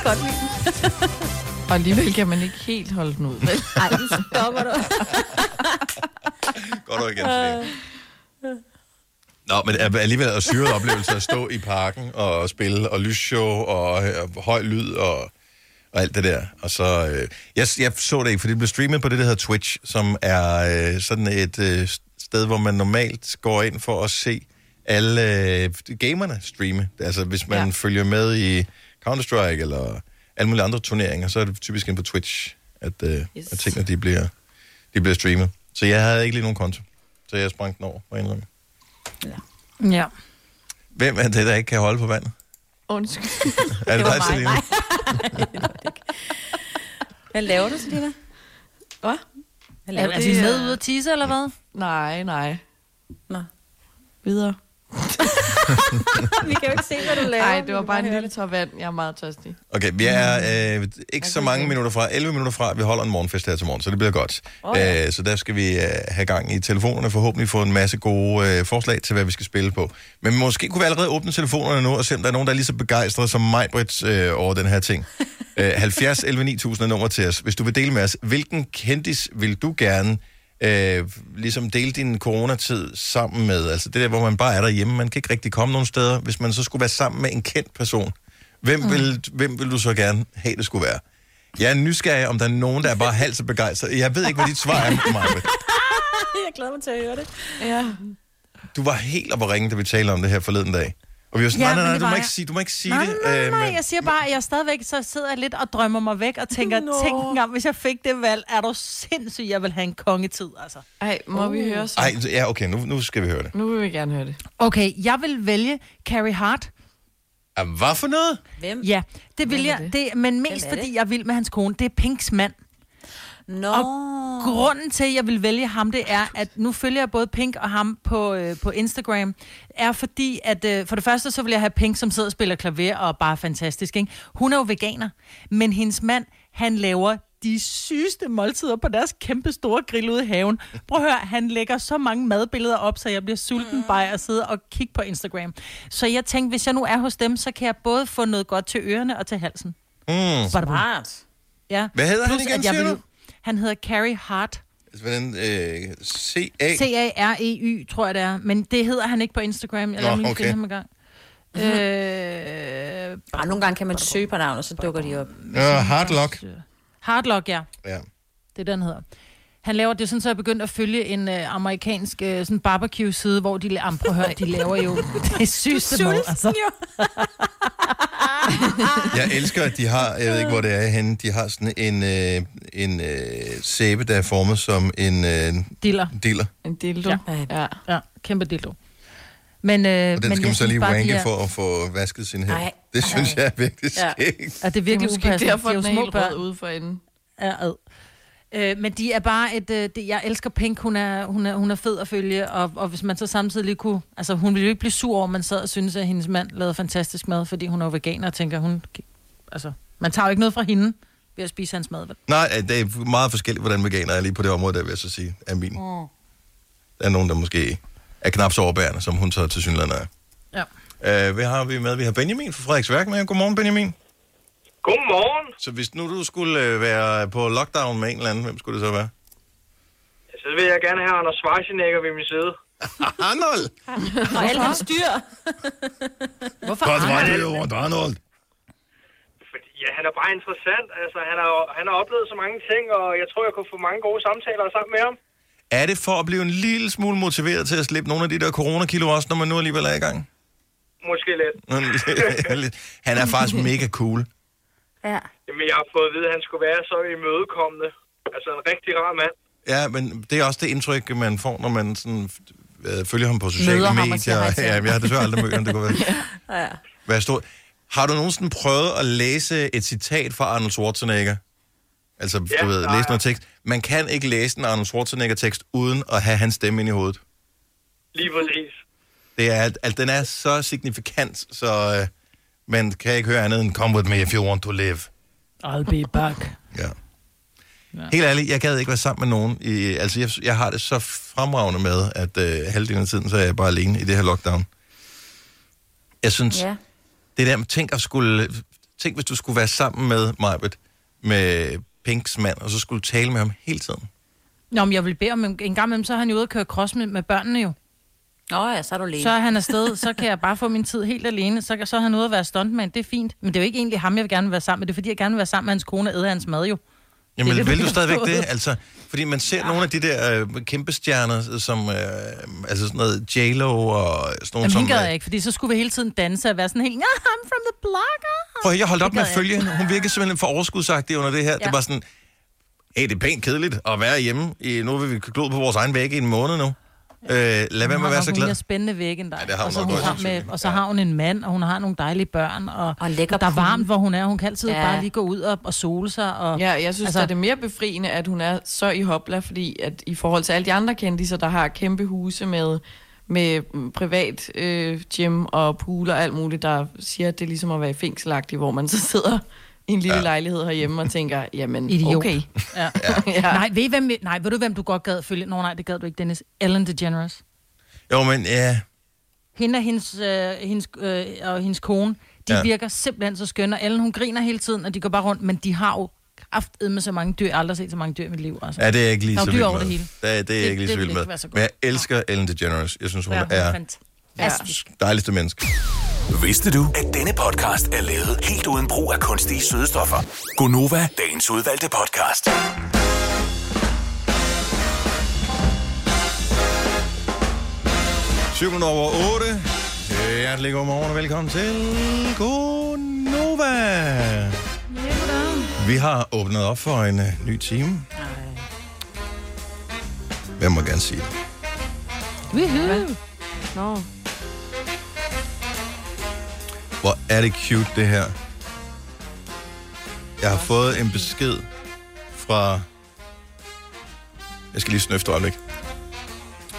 S4: godt lide den.
S2: Og alligevel kan man ikke helt holde den ud. vel?
S4: Ej, nu stopper du.
S1: Godt og igen, Selene. Nå, men er- alligevel er syret oplevelse at stå i parken og spille, og lysshow, og, øh, høj lyd, og, og alt det der. Og så, øh, jeg, jeg så det ikke, for det blev streamet på det, der hedder Twitch, som er øh, sådan et øh, sted, hvor man normalt går ind for at se alle øh, gamerne streame. Altså, hvis man ja.
S2: Ja.
S1: følger med i Counter-Strike eller alle mulige andre turneringer, så er det typisk ind på Twitch, at, øh, yes.
S2: Yes.
S1: at tingene de bliver, de bliver streamet. Så jeg havde ikke lige nogen konto, så jeg sprang den over, må jeg indrømme.
S3: Ja.
S1: Hvem er det, der ikke kan holde på vandet?
S2: Undskyld.
S1: Er det,
S4: var
S1: dig,
S4: mig.
S1: Selina?
S4: Nej. Hvad laver du, Selina?
S2: Hvad?
S4: Hvad
S3: Er,
S4: laver
S3: er
S4: du?
S2: det,
S3: de
S2: øh,
S3: nede ude at tisse, eller hvad?
S2: Nej, nej.
S4: Nå.
S2: Videre.
S4: Vi kan jo ikke se, hvad du laver.
S2: Nej, det var
S4: Vi
S2: bare en
S4: kan
S2: lille tår vand. Jeg er meget tørstig.
S1: Okay, vi er øh, ikke så mange minutter fra, 11 minutter fra, at vi holder en morgenfest her til morgen, så det bliver godt. Oh, ja. øh, så der skal vi øh, have gang i telefonerne, forhåbentlig få en masse gode øh, forslag til, hvad vi skal spille på. Men måske kunne vi allerede åbne telefonerne nu, og se om der er nogen, der er lige så begejstret som mig, Britt, øh, over den her ting. øh, 70 11 9000 er nummer til os. Hvis du vil dele med os, hvilken kendis vil du gerne øh, ligesom dele din coronatid sammen med? Altså det der, hvor man bare er derhjemme, man kan ikke rigtig komme nogen steder. Hvis man så skulle være sammen med en kendt person, Hvem, mm. vil, hvem vil du så gerne have, det skulle være? Jeg er nysgerrig, om der er nogen, der er bare halvt så begejstret. Jeg ved ikke, hvad dit svar er, Marve.
S4: høre- Jeg glæder mig til at høre det.
S2: Ja.
S1: Du var helt oppe at ringe, da vi talte om det her forleden dag. Og vi var sådan,
S3: Ja,
S1: nej, nej,
S3: men
S1: nej,
S3: det
S1: du
S3: var
S1: må,
S3: jeg.
S1: ikke sige, du må ikke sige
S3: Nej,
S1: det.
S3: nej, nej,
S1: Øh,
S3: nej,
S1: men-
S3: jeg siger bare, at jeg stadigvæk så sidder jeg lidt og drømmer mig væk og tænker,
S2: Nå.
S3: no. tænk engang, hvis jeg fik det valg, er du sindssyg, jeg vil have en kongetid, altså.
S2: Ej, må vi høre så?
S1: Uh. Ej, ja, okay, nu, nu skal vi høre det.
S2: Nu vil vi gerne høre det.
S3: Okay, jeg vil vælge Carrie Hart.
S1: Ah, hvad for noget?
S4: Hvem?
S3: Ja, det vil
S2: Hvem er
S3: jeg,
S2: det?
S3: det, men mest
S4: er det?
S3: fordi jeg vil med hans kone. Det er Pinks mand.
S4: Nå.
S3: Grunden til, at jeg vil vælge ham, det er, at nu følger jeg både Pink og ham på, øh, på Instagram, er fordi, at øh, for det første, så vil jeg have Pink, som sidder og spiller klaver og er bare fantastisk. Ikke? Hun er jo veganer, men hendes mand, han laver de sygeste måltider på deres kæmpe store grill ude i haven. Prøv at høre, han lægger så mange madbilleder op, så jeg bliver sulten bare at sidde og kigge på Instagram. Så jeg tænkte, hvis jeg nu er hos dem, så kan jeg både få noget godt til ørerne og til halsen.
S1: Mm.
S4: Smart.
S3: Ja.
S1: Hvad hedder han
S3: Plus,
S1: igen,
S3: at jeg
S1: siger
S3: vil-
S1: du?
S3: Han hedder Carrie Hart.
S1: Altså, Hvordan? Øh, C-A?
S3: C-A-R-E-Y, E tror jeg det er. Men det hedder han ikke på Instagram. Jeg
S1: Nå,
S3: lader lige
S1: okay.
S3: finde ham i gang. Øh,
S4: Og Mhm. nogle gange kan man søge på navn, og så dukker de op.
S1: Ja, Hardlock.
S3: Hardlock, ja.
S1: Ja.
S3: Det er den hedder. Han laver det er sådan, så jeg begyndt at følge en øh, amerikansk øh, sådan barbecue-side, hvor de, la- Jamen, prøv at høre, de laver jo det sygeste mad. Altså.
S1: Jeg elsker, at de har, jeg ved ikke, hvor det er henne, de har sådan en, øh, en øh, sæbe, der er formet som en øh,
S3: Diller.
S1: diller.
S2: En dildo.
S3: Ja.
S2: ja.
S3: Ja, kæmpe dildo. Men, øh,
S1: Og
S3: men
S1: den skal man
S3: jeg
S1: så
S3: synes
S1: lige
S3: bare, de
S1: wanke
S3: er-
S1: for at få vasket sin hænder.
S4: Ej,
S1: Det synes jeg er virkelig
S4: Ja.
S1: skægt.
S3: Og det er
S2: Det er
S3: virkelig
S2: måske
S3: upassende.
S2: derfor,
S3: Det er jo
S2: den er
S3: små
S2: helt
S3: børn.
S2: rød ude for enden.
S3: Ja, ad. Øh, men de er bare et... Øh, det, jeg elsker Pink, hun er, hun er, hun er fed at følge, og, og hvis man så samtidig lige kunne... Altså, hun ville jo ikke blive sur over, at man sad og syntes, at hendes mand lavede fantastisk mad, fordi hun er jo veganer og tænker, hun... Altså, man tager jo ikke noget fra hende ved at spise hans mad, vel?
S1: Nej, øh, det er meget forskelligt, hvordan veganer er lige på det område, der vil jeg så sige, er min. Der er nogen, der måske er knap så overbærende, som hun så til synligheden er.
S3: Ja.
S1: Øh, hvad har vi med? Vi har Benjamin fra Frederiksværk med. Godmorgen, Benjamin.
S10: Godmorgen.
S1: Så hvis nu du skulle øh, være på lockdown med en eller anden, hvem skulle det så være?
S10: Så Altså, vil jeg gerne have Anders Schwarzenegger ved min side. Altså,
S1: Arnold!
S4: Og alle hans dyr.
S3: Hvorfor?
S1: Godt, det over Arnold.
S10: Fordi, ja, han er bare interessant. Altså, han har, han har oplevet så mange ting, og jeg tror, jeg kunne få mange gode samtaler sammen med ham.
S1: Er det for at blive en lille smule motiveret til at slippe nogle af de der coronakilo også, når man nu alligevel er i gang?
S10: Måske lidt.
S1: Han er faktisk mega cool.
S10: Jamen, jeg har fået at vide, at han skulle være så imødekommende. Altså, en rigtig rar mand.
S1: Ja, men det er også det indtryk, man får, når man sådan, øh, følger ham på sociale
S4: Møder ham og
S1: medier.
S4: siger hej til
S1: ja,
S4: ham.
S1: men jeg har desværre aldrig mødt ham, det kunne være. Vær stor. Har du nogensinde prøvet at læse et citat fra Arnold Schwarzenegger? Altså,
S10: Ja,
S1: du ved,
S10: nej.
S1: læse noget tekst. Man kan ikke læse en Arnold Schwarzenegger-tekst uden at have hans stemme ind i hovedet.
S10: Lige præcis.
S1: Det er, at den er så signifikant, så øh, man kan ikke høre andet end Come with me if you want to live.
S3: I'll be back.
S1: Ja. Helt ærligt, jeg gad ikke være sammen med nogen. I, altså, jeg, jeg har det så fremragende med, at øh, halvdelen af tiden, så er jeg bare alene i det her lockdown. Jeg synes, ja.
S4: Ja.
S1: det der, tænk, at skulle, tænk hvis du skulle være sammen med Majbet, med Pinks mand, og så skulle du tale med ham hele tiden.
S3: Nå, men jeg vil bede om, en gang imellem, så er han jo ude at køre cross med, med børnene jo.
S4: Nå ja, så er du alene.
S3: Så er han afsted, så kan jeg bare få min tid helt alene. Så, kan- så er han ude at være stuntman, det er fint. Men det er jo ikke egentlig ham, jeg vil gerne være sammen med. Det er fordi, jeg gerne vil være sammen med hans kone og æde hans mad jo.
S1: Jamen,
S3: Det
S1: det
S3: er det,
S1: vil
S3: du
S1: du
S3: kan
S1: stadigvæk
S3: få.
S1: det? Altså, fordi man ser ja. nogle af de der øh, kæmpe stjerner, som øh, altså sådan noget J-Lo og sådan nogle,
S3: Jamen,
S1: som...
S3: hende gad
S1: øh,
S3: jeg ikke, fordi så skulle vi hele tiden danse og være sådan helt, ja, I'm from the block. ah."
S1: Prøv at høre, jeg holdt op
S3: Det
S1: med at
S3: gad jeg
S1: følge hende. Hun virkede simpelthen for overskudsagtig under det her. Ja. Det var sådan, hey, det er pænt kedeligt at være hjemme. I, nu vil vi glo på vores egen væg i en måned nu. Øh, lad være
S3: Hun
S1: med
S3: har
S1: at være
S3: nok
S1: så
S3: en mere
S1: glad.
S3: spændende væg end dig.
S1: det har hun
S3: og så,
S1: nok
S3: hun
S1: også,
S3: har med,
S1: sandsynligvis.
S3: og så
S1: Ja.
S3: har hun en mand, og hun har nogle dejlige børn. Og,
S4: Og en lækker
S3: og der er
S4: pool.
S3: varmt, hvor hun er. Hun kan altid
S4: Ja.
S3: ja. bare lige gå ud og, og sole sig. Og,
S2: Ja, jeg synes, altså,
S3: Altså-
S2: at det er mere befriende, at hun er så i hopla, fordi at i forhold til alle de andre kendtiser, der har kæmpe huse med, med mm, privat øh, gym og pool og alt muligt, der siger, at det er ligesom at være i fængselagtigt, hvor man så sidder i en lille ja. lejlighed herhjemme og tænker, jamen
S3: Idiot.
S2: okay.
S3: Ja.
S2: Ja.
S3: Nej, ved, I, hvem, nej, ved du, hvem du godt gad følge? Nå nej, det gad du ikke, Dennis. Ellen DeGeneres.
S1: Jo, men ja,
S3: Hende og hendes, øh, hendes, øh, og hendes kone, de
S1: Ja.
S3: ja. virker simpelthen så skønne. Og Ellen, hun griner hele tiden, og de går bare rundt, men de har jo kraftedet med så mange dyr. Jeg har aldrig set så mange dyr i mit liv. Altså.
S1: ja, det er jeg ikke lige
S3: Der er
S1: så
S3: dyr
S1: vild
S3: over
S1: med.
S3: det hele.
S1: Det, er, det er jeg
S3: Det-
S1: ikke lige
S3: det
S1: så
S3: vil
S1: vild
S3: ikke
S1: med.
S3: være så godt.
S1: Men jeg elsker Ellen DeGeneres. Jeg synes, hun
S3: Ja,
S1: ja,
S3: hun er
S1: er
S3: fantastisk.
S1: dejligste menneske.
S5: Vidste du, at denne podcast er lavet helt uden brug af kunstige sødestoffer? Gonova, dagens udvalgte podcast.
S1: Syv minutter over 8. Hjertelig godmorgen og velkommen til Godnova. Vi har åbnet op for en øh, ny time. Hvem må gerne sige det?
S3: Woohoo!
S2: Nå.
S1: Hvor er det cute, det her. Jeg har fået en besked fra... Jeg skal lige snøfte et øjeblik.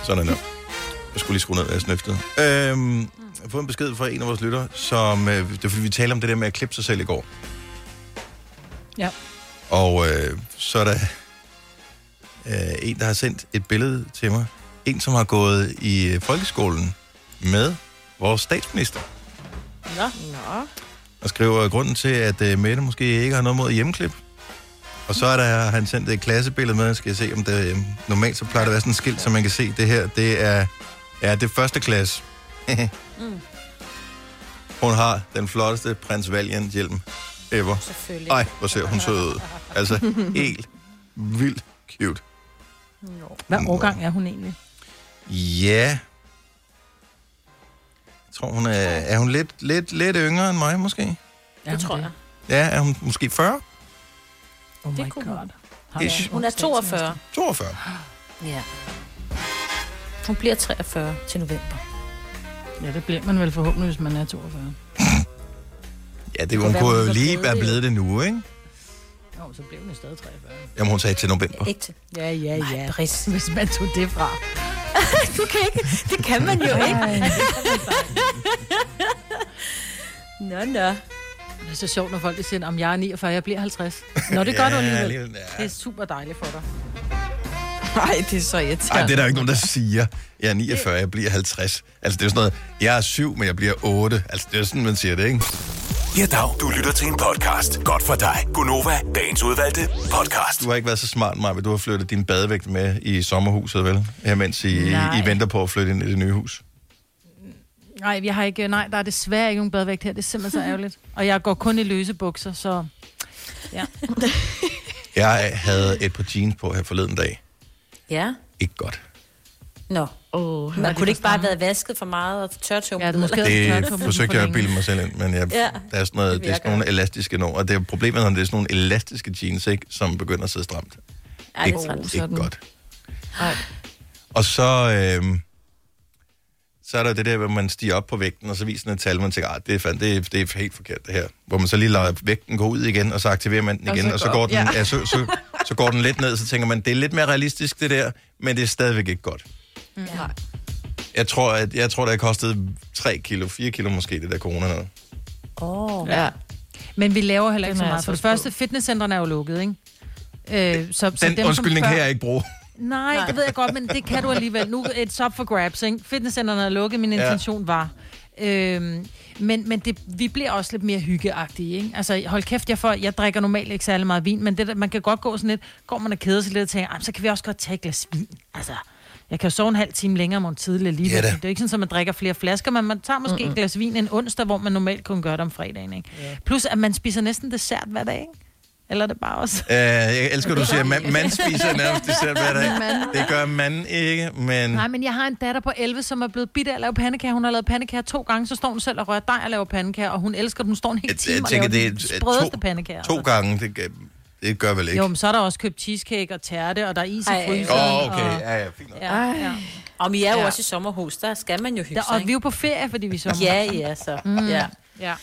S1: Sådan der. Jeg skulle lige skrue ned, hvad jeg snøftede. Øhm, jeg har fået en besked fra en af vores lytter, som... Øh, det er fordi, vi talte om det der med at klippe sig selv i går.
S3: Ja.
S1: Og øh, så er der øh, en, der har sendt et billede til mig. En, som har gået i øh, folkeskolen med vores statsminister.
S2: Nå.
S1: og skriver grunden til, at øh, Mette måske ikke har noget mod hjemmeklip. Og så er der, han sendt et klassebillede med, skal jeg se, om det øh, normalt så plejer der at være sådan en skilt, så man kan se det her. Det er, ja, det er første klasse.
S4: Mm.
S1: Hun har den flotteste prins Valiant hjelm ever.
S4: Selvfølgelig.
S1: Ej, hvor ser hun sød ud. Altså, helt vildt cute.
S3: Hvad årgang er hun egentlig?
S1: Ja. Jeg tror, hun er, er hun lidt, lidt, lidt yngre end mig, måske.
S4: Det tror jeg.
S1: Ja, er hun måske 40?
S3: Oh
S4: det kunne hun.
S1: Ish.
S4: Hun er 42.
S1: 42.
S4: Ja. Hun bliver 43 til november.
S3: Ja, det bliver man vel forhåbentlig, hvis man er 42.
S1: Ja, det,
S3: kunne
S1: hun
S3: være,
S1: kunne
S3: hun
S1: jo
S3: var
S1: lige
S3: blevet
S1: være
S3: det.
S1: blevet det nu, ikke?
S3: Jo, så blev hun jo stadig 43.
S1: Jamen, hun sagde til november.
S4: Ikke til.
S3: Ja, ja, ja. Hvis man tog det fra.
S4: du kan ikke. Det kan man jo ikke. nå, nå.
S3: Det er så sjovt, når folk de siger, at jeg er 49, jeg bliver 50. Nå, det gør
S1: Ja,
S3: du alligevel.
S1: alligevel, ja.
S3: Det er super dejligt for dig.
S2: Nej, det er så irriterende.
S1: Ej, det er der jo ikke nogen, der siger. Jeg er 49, jeg bliver 50. Altså, det er jo sådan noget, jeg er 7, men jeg bliver 8. Altså, det er sådan, man siger det, ikke?
S5: Ja, dag. Du lytter til en podcast. Godt for dig. Gunova, dagens udvalgte podcast.
S1: Du har ikke været så smart, Maja, men du har flyttet din badevægt med i sommerhuset, vel? Her mens I,
S3: Nej.
S1: I venter på at flytte ind i det nye hus.
S3: Nej, vi har ikke, nej, der er desværre ikke nogen badvægt her. Det er simpelthen så ærgerligt. Og jeg går kun i løse bukser, så... Ja.
S1: Jeg havde et par jeans på her forleden dag.
S4: Ja.
S1: Ikke godt.
S4: Nå.
S2: Oh,
S4: man kunne det ikke bare have været vasket for meget og tørtumlet?
S3: Ja, det er måske
S1: Det forsøgte jeg at bilde mig selv ind, men jeg, ja,
S4: Ja,
S1: der er sådan, noget,
S4: det
S1: det er sådan
S4: virker.
S1: nogle elastiske nogen. Og det er problemet, når det er sådan nogle elastiske jeans, ikke, som begynder at sidde stramt.
S4: Ej, det er træls.
S1: ikke, ikke godt.
S2: Ej.
S1: Og så, øhm, så er der det der, hvor man stiger op på vægten, og så viser den et tal, man tænker, "Ah, det er, fandme, det, er, det er helt forkert det her. Hvor man så lige lader vægten gå ud igen, og så aktiverer man den
S2: Og
S1: igen,
S2: så
S1: og så,
S2: går
S1: går,
S2: op.
S1: den,
S2: Ja.
S1: ja. så, så, så går den lidt ned, så tænker man, det er lidt mere realistisk det der, men det er stadigvæk ikke godt.
S2: Ja.
S1: Jeg tror, at, jeg tror, det har kostet 3 kilo, 4 kilo måske, det der corona noget.
S4: Åh. Oh.
S2: ja.
S3: Men vi laver heller
S2: Den
S3: ikke så
S2: er
S3: meget.
S2: altså
S3: For det
S2: også
S3: første, fitnesscentrene er jo lukket, ikke? Øh, så, så
S1: Den
S3: dem, som
S1: undskyldning
S3: før-
S1: kan jeg ikke bruge.
S3: Nej, det ved jeg godt, men det kan du alligevel. Nu er det op for grabs, ikke? Fitnesscenterne er lukket, min
S1: Ja.
S3: intention var. Øhm, men men det, vi bliver også lidt mere hyggeagtige, ikke? Altså, hold kæft, jeg, får, jeg drikker normalt ikke særlig meget vin, men det, der- man kan godt gå sådan lidt, går man og keder sig lidt og tænker, "Ej, så kan vi også godt tage et glas vin. Altså, jeg kan jo sove en halv time længere om morgenen tidligere lige.
S1: Ja da.
S3: det er jo ikke sådan, at man drikker flere flasker, men man tager måske mm-hmm. et glas vin en onsdag, hvor man normalt kun gør det om fredagen, ikke? Yeah. Plus, at man spiser næsten dessert hver dag, ikke? Eller er det bare også...
S1: Øh, jeg elsker, at du siger, man, man spiser nærmest dessert hver dag. Det gør man ikke, men...
S3: Nej, men jeg har en datter på 11, som er blevet bidt af at lave pandekager. Hun har lavet pandekager to gange, så står hun selv og rører dig og laver pandekager, og hun elsker den. Hun står en hel
S1: Jeg,
S3: time
S1: jeg
S3: og
S1: tænker,
S3: laver
S1: det er
S3: den sprødeste
S1: to,
S3: pandekager.
S1: to gange, det, gør- det gør vel ikke.
S3: Jo, men så er der også købt cheesecake og tærte, og der er is i
S4: Ej,
S3: fryseren.
S1: Åh, oh, okay,
S3: Og,
S1: ja, ja, fint nok.
S3: ja, ja.
S4: Og vi er jo
S3: Ja.
S4: ja. også i sommerhus, der skal man jo hygge
S3: Der,
S4: sig,
S3: og vi er jo på ferie, fordi vi er sommer.
S4: Ja, ja, så. Mm. Ja.
S3: ja.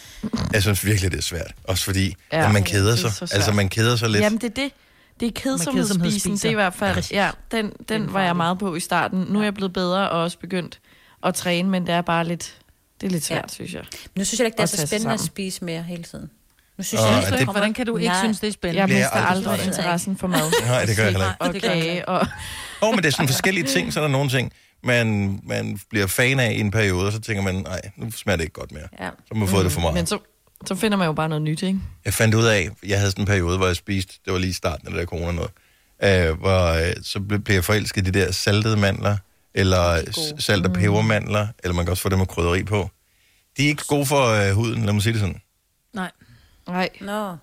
S1: Jeg synes virkelig, det er svært. Også fordi,
S2: Ja,
S1: ja, at man
S2: det
S1: keder
S2: er
S1: sig.
S2: så svært.
S1: altså, man keder sig lidt.
S2: Jamen, det er det. Det er kedsomhedsspisen, det er i hvert fald. Ja, den, den var jeg meget på i starten. Nu er jeg blevet bedre og også begyndt at træne, men det er bare lidt, det er lidt svært, ja.
S4: Ja.
S2: synes jeg.
S4: Nu synes jeg ikke, det er
S2: Og tage
S4: så
S2: sig
S4: spændende at
S2: sammen.
S4: spise mere hele tiden. Nu
S1: Åh,
S4: synes jeg,
S1: er
S4: ikke,
S1: det-
S4: kommer-
S3: Hvordan kan du ikke
S4: Nej.
S3: synes, det er spændende?
S2: Jeg
S1: Bliver
S2: mister
S1: aldrig
S2: aldrig
S1: træt.
S2: interessen for mad
S1: Nej, det gør jeg heller ikke.
S2: og
S3: det gør jeg heller
S2: kage.
S3: ikke.
S2: Og,
S1: Åh, oh, men det er sådan forskellige ting, så er der nogle ting, man, man bliver fan af i en periode, og så tænker man, nej, nu smager det ikke godt mere.
S4: Ja.
S1: Så har man fået det for meget.
S2: men så, så finder man jo bare noget nyt, ikke?
S1: Jeg fandt ud af, jeg havde sådan en periode, hvor jeg spiste, det var lige i starten af det der corona noget, øh, hvor øh, så ble- blev jeg forelsket i de der saltede mandler, eller s- salt- og pebermandler, eller man kan også få dem med krydderi på. De er ikke gode for øh, huden, lad mig sige det sådan.
S3: Nej.
S2: Nej.
S4: Nå,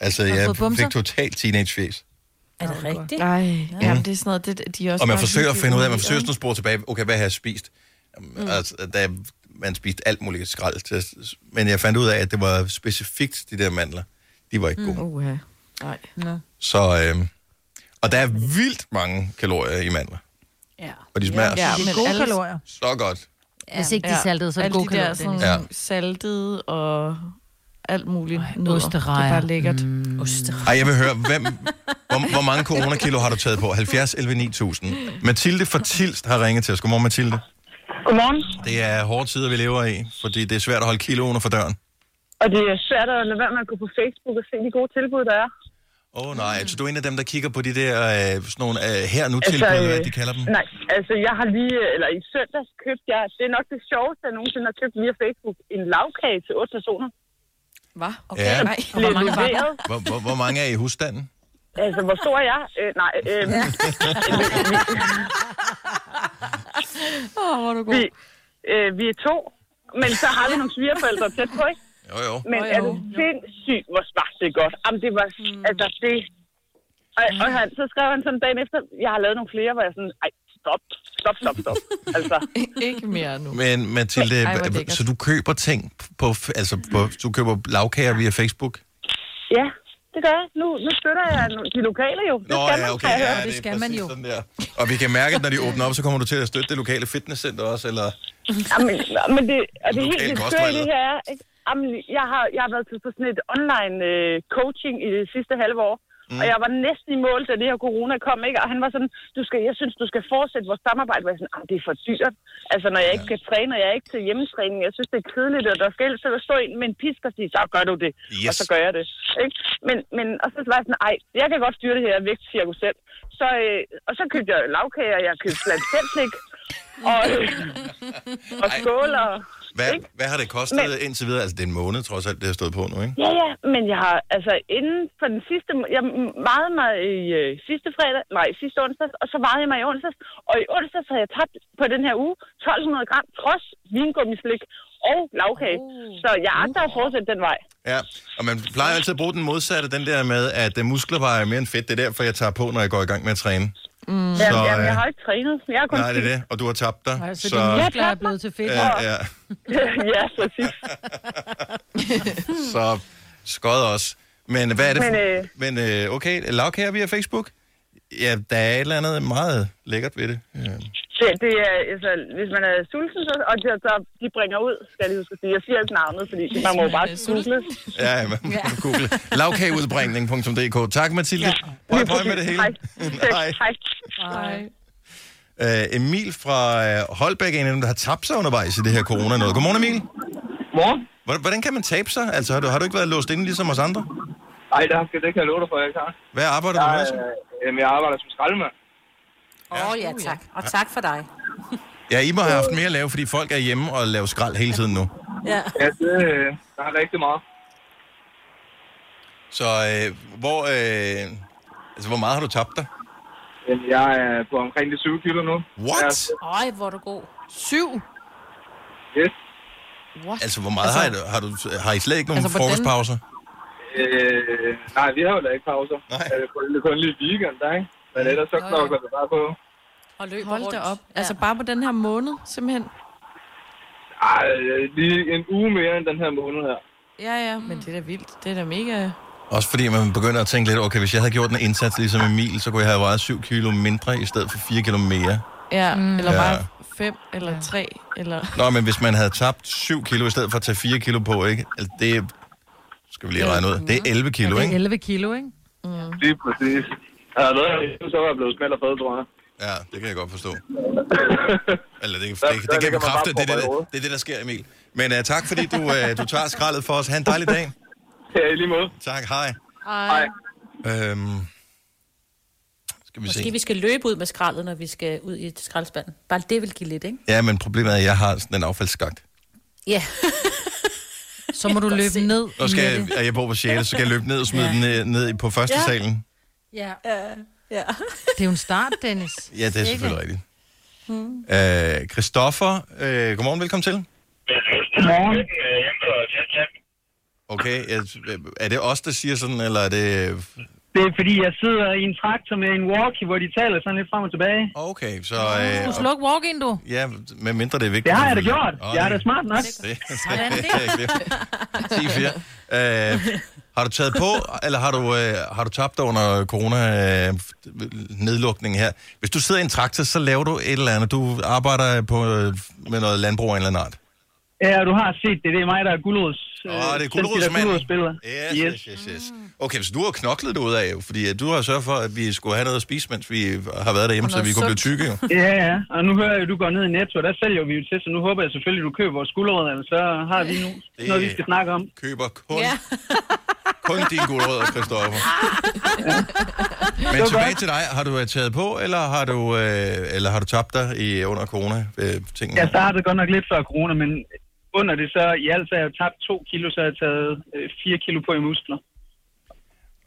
S1: Altså,
S3: du
S1: jeg
S3: fået bumser?
S1: fik totalt teenagefjes.
S4: er det rigtigt?
S2: Nej, jamen det er sådan noget, det, de er også
S1: Og man
S2: bare
S1: forsøger at
S2: virkelig
S1: finde ud af, man
S2: ulækre.
S1: forsøger sådan at spore tilbage, okay, hvad har jeg spist? Mm. Altså, da man spiste alt muligt skrald. til- Men jeg fandt ud af, at det var specifikt de der mandler. De var ikke gode.
S2: Mm. Uha. Nej.
S1: Så, øh, og der er vildt mange kalorier i mandler.
S4: Ja.
S1: Og de smager
S2: Ja,
S1: ja.
S3: Det
S2: men
S3: er gode
S2: alle-
S3: kalorier.
S1: så godt.
S3: Hvis ikke de er saltede, så er det
S2: Alle
S3: gode
S2: de
S3: kalorier.
S2: der sådan
S3: Dennis.
S1: Ja.
S2: ja. saltede og alt muligt.
S3: Ej,
S2: nødder.
S3: osterejer.
S2: Det er bare lækkert. Mm.
S4: Mm. Oster.
S1: Ej, jeg vil høre, hvem, hvor, hvor mange coronakilo har du taget på? 70, 11, 9000. Mathilde fra Tilst har ringet til os. Godmorgen, Mathilde.
S11: Godmorgen.
S1: Det er hårde tider, vi lever i, fordi det er svært at holde kiloene for døren.
S11: Og det er svært at lade være med at gå på Facebook og se de gode tilbud, der er.
S1: Åh oh, nej, altså du er en af dem, der kigger på de der øh, sådan nogle øh, her nu tilbud, altså, hvad de kalder dem.
S11: Nej, altså jeg har lige, eller i søndags købt jeg, det er nok det sjoveste, jeg nogensinde har købt via Facebook, en lavkage til otte personer.
S2: Hvad?
S1: Ja.
S2: Nej, og hvor mange var der?
S1: Hvor, hvor, hvor mange er i husstanden?
S11: Altså, hvor stor er jeg? Øh, nej, øh,
S2: Åh, hvor er du god.
S11: vi, øh, vi er to, men så har vi nogle svigerforældre tæt på, ikke?
S1: Jo, jo. Mm.
S11: Men er det sindssygt, hvor smart det er godt. Jamen, det var, altså, det... Og, og han, så skrev han sådan dagen efter, jeg har lavet nogle flere, hvor jeg sådan, ej, stop, stop, stop, stop. altså,
S2: Ikke mere nu.
S1: Men Mathilde,
S2: Ej, hvor
S1: Ej,
S2: lækkert.
S1: så du køber ting på, f- altså på, du køber lavkager via Facebook?
S11: ja, det gør jeg. Nu, nu støtter jeg nu- de lokale jo. Det skal man, kan jeg høre.
S1: det skal man jo. Sådan der. Og vi kan mærke, at når de åbner op, så kommer du til at støtte det lokale fitnesscenter også, eller...
S11: Jamen, men det, og det
S1: Lokale
S11: helt vildt skøre i
S1: kostregler.
S11: det her er, ikke? Jamen, jeg har, jeg har været til på sådan et online øh, coaching i det sidste halve år,
S1: Mm.
S11: mm. og jeg var næsten i mål, da det her corona kom, ikke? Og han var sådan, du skal, jeg synes, du skal fortsætte vores samarbejde. Hvor jeg sådan, "Jamen, det er for dyrt. Altså, når jeg ikke kan træne, og jeg er ikke til hjemmetræning, jeg synes, det er kedeligt, og der skal helst at stå ind med en pisk og sige, så gør du det, yes. og
S1: Yes.
S11: så gør jeg det. Ikke? Men, men, og så var jeg sådan, ej, jeg kan godt styre det her vægtcirkus selv. Så, øh, og så købte jeg lavkager, jeg købte plantetnik, og, og
S1: Ej.
S11: skål og...
S1: Hvad, hvad har det kostet Men... indtil videre? Altså, det er en måned, trods alt, det har stået på nu, ikke?
S11: Ja, ja, men jeg har altså inden for den sidste... må- Jeg vejede mig i øh, sidste fredag, nej, sidste onsdag, og så vejede jeg mig i onsdags. Og i onsdags havde jeg tabt på den her uge 1200 gram, trods vingummislik og lavkage. Oh. Så jeg agter at fortsætte den vej.
S1: Ja, og man plejer altid at bruge den modsatte, den der med, at øh, muskler vejer mere end fedt. Det er derfor, jeg tager på, når jeg går i gang med at træne. Så,
S11: Mm. Jamen, jamen, jeg
S1: øh,
S11: har ikke trænet. Jeg er kun
S1: Nej, det er det, og du har tabt dig.
S3: Altså, så... dine muskler er blevet til fedt.
S1: ja, ja,
S11: ja, præcis.
S1: så skød også. Men hvad er det for...
S11: Men,
S1: Men,
S11: øh,
S1: øh... Men øh, okay, lavkager via Facebook? Ja, der er et eller andet meget lækkert ved det. Ja.
S11: Det, det er, altså, hvis man er sulten, så, og de, så, de bringer ud, skal jeg lige huske at sige. Jeg siger ikke navnet, fordi man må jo bare google.
S1: Ja, ja, man må google. Lavkageudbringning.dk. Tak, Mathilde. Ja. Prøv, prøv med det hele.
S11: Hej.
S1: Hej.
S11: Hej.
S2: Nej.
S1: Uh, Emil fra øh, Holbæk er en af dem, der har tabt sig undervejs i det her corona noget. Godmorgen, Emil.
S12: Morgen.
S1: Hvordan kan man tabe sig? Altså, har du, har du ikke været låst inde ligesom os andre?
S12: Nej, det, har- det kan jeg love dig for, jeg kan.
S1: Hvad arbejder du med, så?
S12: Jamen, jeg arbejder som skraldemand.
S4: Åh oh, ja, tak. Og tak for dig.
S1: Ja, I må have haft mere at lave, fordi folk er hjemme og laver skrald hele tiden nu.
S4: Ja.
S12: Ja, det, øh, der er rigtig meget.
S1: Så øh, hvor, øh, altså, hvor meget har du tabt dig?
S12: Jamen, Jeg er på omkring de 7 kilo nu.
S1: What?
S4: Øj, hvor er du god.
S2: Syv?
S12: Yes.
S2: What?
S1: Altså, hvor meget altså, har, du, har, du, har I slet ikke nogen
S2: Altså,
S1: altså,
S2: hvordan-
S1: frokostpauser?
S12: Øh, nej, vi har jo da ikke pauser.
S1: Nej. Mm.
S12: Øh, kun, kun lige weekend, der, ikke? Men ellers så knokler vi bare på.
S4: Og løber
S2: Hold
S4: rundt.
S2: da op. Altså bare på den her måned, simpelthen.
S12: Ej, øh, lige en uge mere end den her måned her.
S2: Ja, ja, men det er da vildt. Det er da mega...
S1: Også fordi man begynder at tænke lidt, okay, hvis jeg havde gjort en indsats ligesom Emil, så kunne jeg have vejet 7 kilo mindre i stedet for 4 kilo mere.
S2: Ja, mm. eller bare
S1: Ja.
S2: fem, eller tre, eller...
S1: Nå, men hvis man havde tabt 7 kilo i stedet for at tage 4 kilo på, ikke? Altså, det skal vi lige regne ud. Det er 11
S3: Ja,
S1: kilo,
S3: det er
S1: ikke?
S3: 11 kilo, ikke?
S12: Lige præcis. Jeg havde lavet det, så var jeg blevet smelt og fed, tror jeg.
S1: Ja, det kan jeg godt forstå. Eller det, det,
S12: Der-
S1: det,
S12: der
S1: det kan
S12: ligger
S1: jeg
S12: man bare
S1: bekræfte,
S12: og
S1: det, er det,
S12: propper i
S1: der-
S12: hovedet.
S1: det er det, der sker, Emil. Men uh, tak, fordi du, uh, du tager skraldet for os. Ha' en dejlig dag.
S12: Ja, i lige måde.
S1: Tak, hej.
S12: Hej.
S1: Øhm, skal vi
S4: Måske
S1: se.
S4: vi skal løbe ud med skraldet, når vi skal ud i skraldespanden. Bare det vil give lidt, ikke?
S1: Ja, men problemet er, at jeg har sådan en affaldsskagt.
S4: Ja.
S3: Så må du løbe ned
S1: Nu skal
S3: med det.
S1: jeg, og jeg bor på 6, så skal jeg løbe ned og smide den ned, ned på første
S4: Ja.
S1: salen.
S3: Ja.
S4: ja.
S3: Det er jo en start, Dennis.
S1: Ja, det er selvfølgelig rigtigt. Øh, Christoffer, øh, godmorgen, velkommen til.
S11: Morgen.
S1: Okay, jeg- er det os, der siger sådan, eller er det...
S13: Det er fordi, jeg sidder i en traktor med en walkie, hvor de taler sådan lidt frem og tilbage.
S1: Okay, så...
S3: Du
S1: Øh,
S3: slår ikke walk-in, du.
S1: ja, med mindre det er vigtigt.
S13: Det har jeg da
S1: selvfølgelig.
S13: gjort.
S1: Åh,
S13: Jeg er da
S1: det-
S13: smart nok.
S1: Det, det, det. 10-4. Øh, har du taget på, eller har du, øh, har du tabt dig under corona-nedlukningen her? Hvis du sidder i en traktor, så laver du et eller andet. Du arbejder på, øh, med noget landbrug af en eller anden art.
S13: Ja, du har set det. Det er mig, der er øh, guldrods.
S1: Åh, det er gulerodsmanden.
S13: guldrodsspiller.
S1: Yes, yes, yes, yes. Okay, så du har knoklet det ud af, jo, fordi at du har sørget for, at vi skulle have noget at spise, mens vi har været derhjemme,
S2: Og
S1: så vi
S2: noget
S1: kunne blive
S2: sundt.
S1: tykke. Jo.
S13: Ja, ja. Og nu hører jeg, at du går ned i Netto, og der sælger vi jo til, så nu håber jeg selvfølgelig, at du køber vores guldrødder, eller så har vi nu
S1: Det-
S13: noget, vi skal snakke om.
S1: Køber kun, ja. kun dine gulerødder, Christoffer. Men tilbage til dig. Har du øh, taget på, eller har du, øh, eller har du tabt dig i, under corona-tingene?
S13: Jeg startede godt nok lidt før corona, men under det, så i alt så har jeg jo tabt to kilo, så har jeg taget øh, fire kilo på i muskler.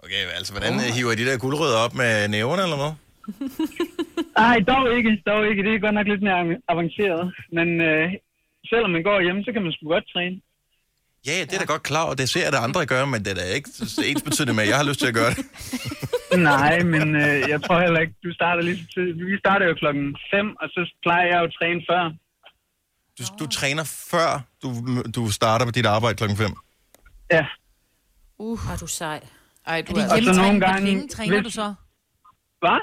S1: Okay, altså, hvordan øh, hiver I de der guldrødder op med næverne eller hvad?
S13: Nej, dog ikke, dog ikke. Det er godt nok lidt mere av- avanceret. Men øh, selvom man går hjemme, så kan man sgu godt træne.
S1: Ja, det er da godt klar, og det ser jeg, at andre gør, men det er da ikke ens betydende med, at jeg har lyst til at gøre det.
S13: Nej, men øh, jeg tror heller ikke, du starter lige så tid. Vi starter jo klokken 5, og så plejer jeg jo at træne før.
S1: Du, du træner før du, du starter på dit arbejde klokken 5.
S13: Ja.
S4: Uh. Var du sej.
S2: Ej,
S3: Er det hjemmetræning? Hvor længe træner du så?
S13: Hvad?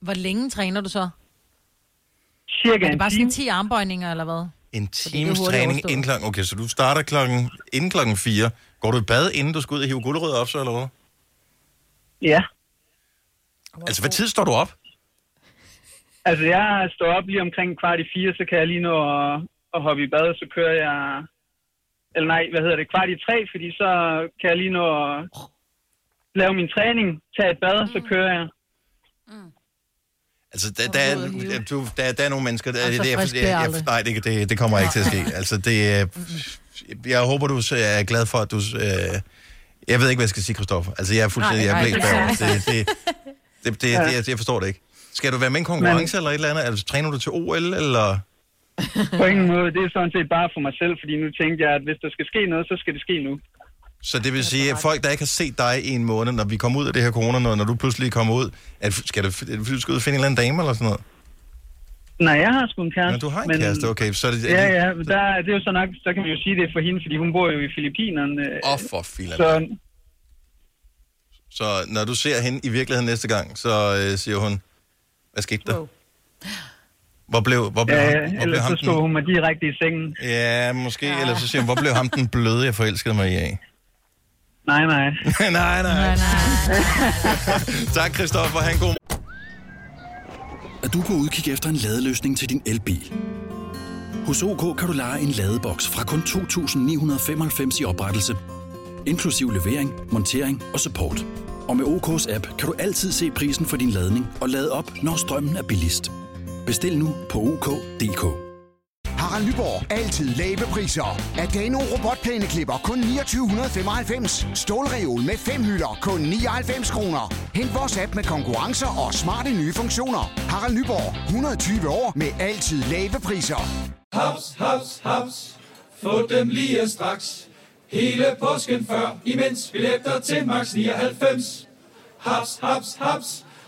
S3: Hvor længe træner du så?
S13: Cirka
S3: Er det bare sådan 10 armbøjninger, eller hvad?
S1: En
S3: det er
S1: times
S3: hurtigt
S1: træning
S3: overstået.
S1: inden klokken... Okay, så du starter klokken, inden klokken 4. Går du i bad, inden du skal ud og hive guldrødder op, så eller hvad?
S13: Ja.
S1: Altså, hvad tid står du op?
S13: Altså, jeg står op lige omkring kvart i fire, så kan jeg lige nå at, at hoppe i bad, og så kører jeg... Eller nej, hvad hedder det? Kvart i tre, fordi så kan jeg lige nå at lave min træning, tage et bad, så kører jeg.
S1: Altså, der, der, er, du, der, der er nogle mennesker... Der,
S13: Altså,
S1: det, jeg,
S13: frisk
S1: jeg,
S13: bliver jeg
S1: jeg,
S13: aldrig.
S1: nej, det, det, det kommer ikke til at ske. Altså, det, er- jeg håber, du så er glad for, at du... Øh, jeg ved ikke, hvad jeg skal sige, Kristoffer. Altså, jeg er fuldstændig...
S13: Nej,
S1: jeg er
S13: nej,
S1: blæst bagover.
S13: det er
S1: Det, det, det, det, det, jeg, jeg forstår det ikke. Skal du være med i en konkurrence eller et eller andet? Altså, træner du til OL, eller...
S13: På ingen måde, det er sådan set bare for mig selv, fordi nu tænkte jeg, at hvis der skal ske noget, så skal det ske nu.
S1: Så det vil sige, at folk, der ikke har set dig i en måned, når vi kommer ud af det her corona, når, når du pludselig kommer ud, at, skal du, du skal ud og finde en eller anden dame eller sådan noget?
S13: Nej, jeg har sgu en kæreste.
S1: Men du har en kæreste, okay, så er det-
S13: Ja, ja, men der, det er jo så nok, så kan man jo sige det er for hende, fordi hun bor jo i Filippinerne.
S1: Åh, oh, for filan.
S13: Så,
S1: Så... så når du ser hende i virkeligheden næste gang, så øh, siger hun, hvad skete der? Hvor blev, hvor blev,
S13: ja,
S1: ham, hvor blev
S13: ellers
S1: ham
S13: så slog
S1: den...
S13: hun mig direkte i sengen.
S1: Ja, måske, ja. eller så siger hun, hvor blev ham den bløde, jeg forelskede mig i af?
S13: Nej, nej.
S1: nej, nej. tak, Christoffer. Han god...
S14: Er du på udkig efter en ladeløsning til din elbil? Hos OK kan du lege en ladeboks fra kun 2.995 i oprettelse, inklusiv levering, montering og support. Og med OK's app kan du altid se prisen for din ladning og lade op, når strømmen er billigst. Bestil nu på OK.dk.
S15: Harald Nyborg. Altid lave priser. Adano robotplæneklipper kun 2995. Stålreol med fem hylder kun 99 kroner. Hent vores app med konkurrencer og smarte nye funktioner. Harald Nyborg. 120 år med altid lave priser.
S16: Haps, haps, haps. Få dem lige straks. Hele påsken før, imens vi læfter til max 99. Haps, haps, haps.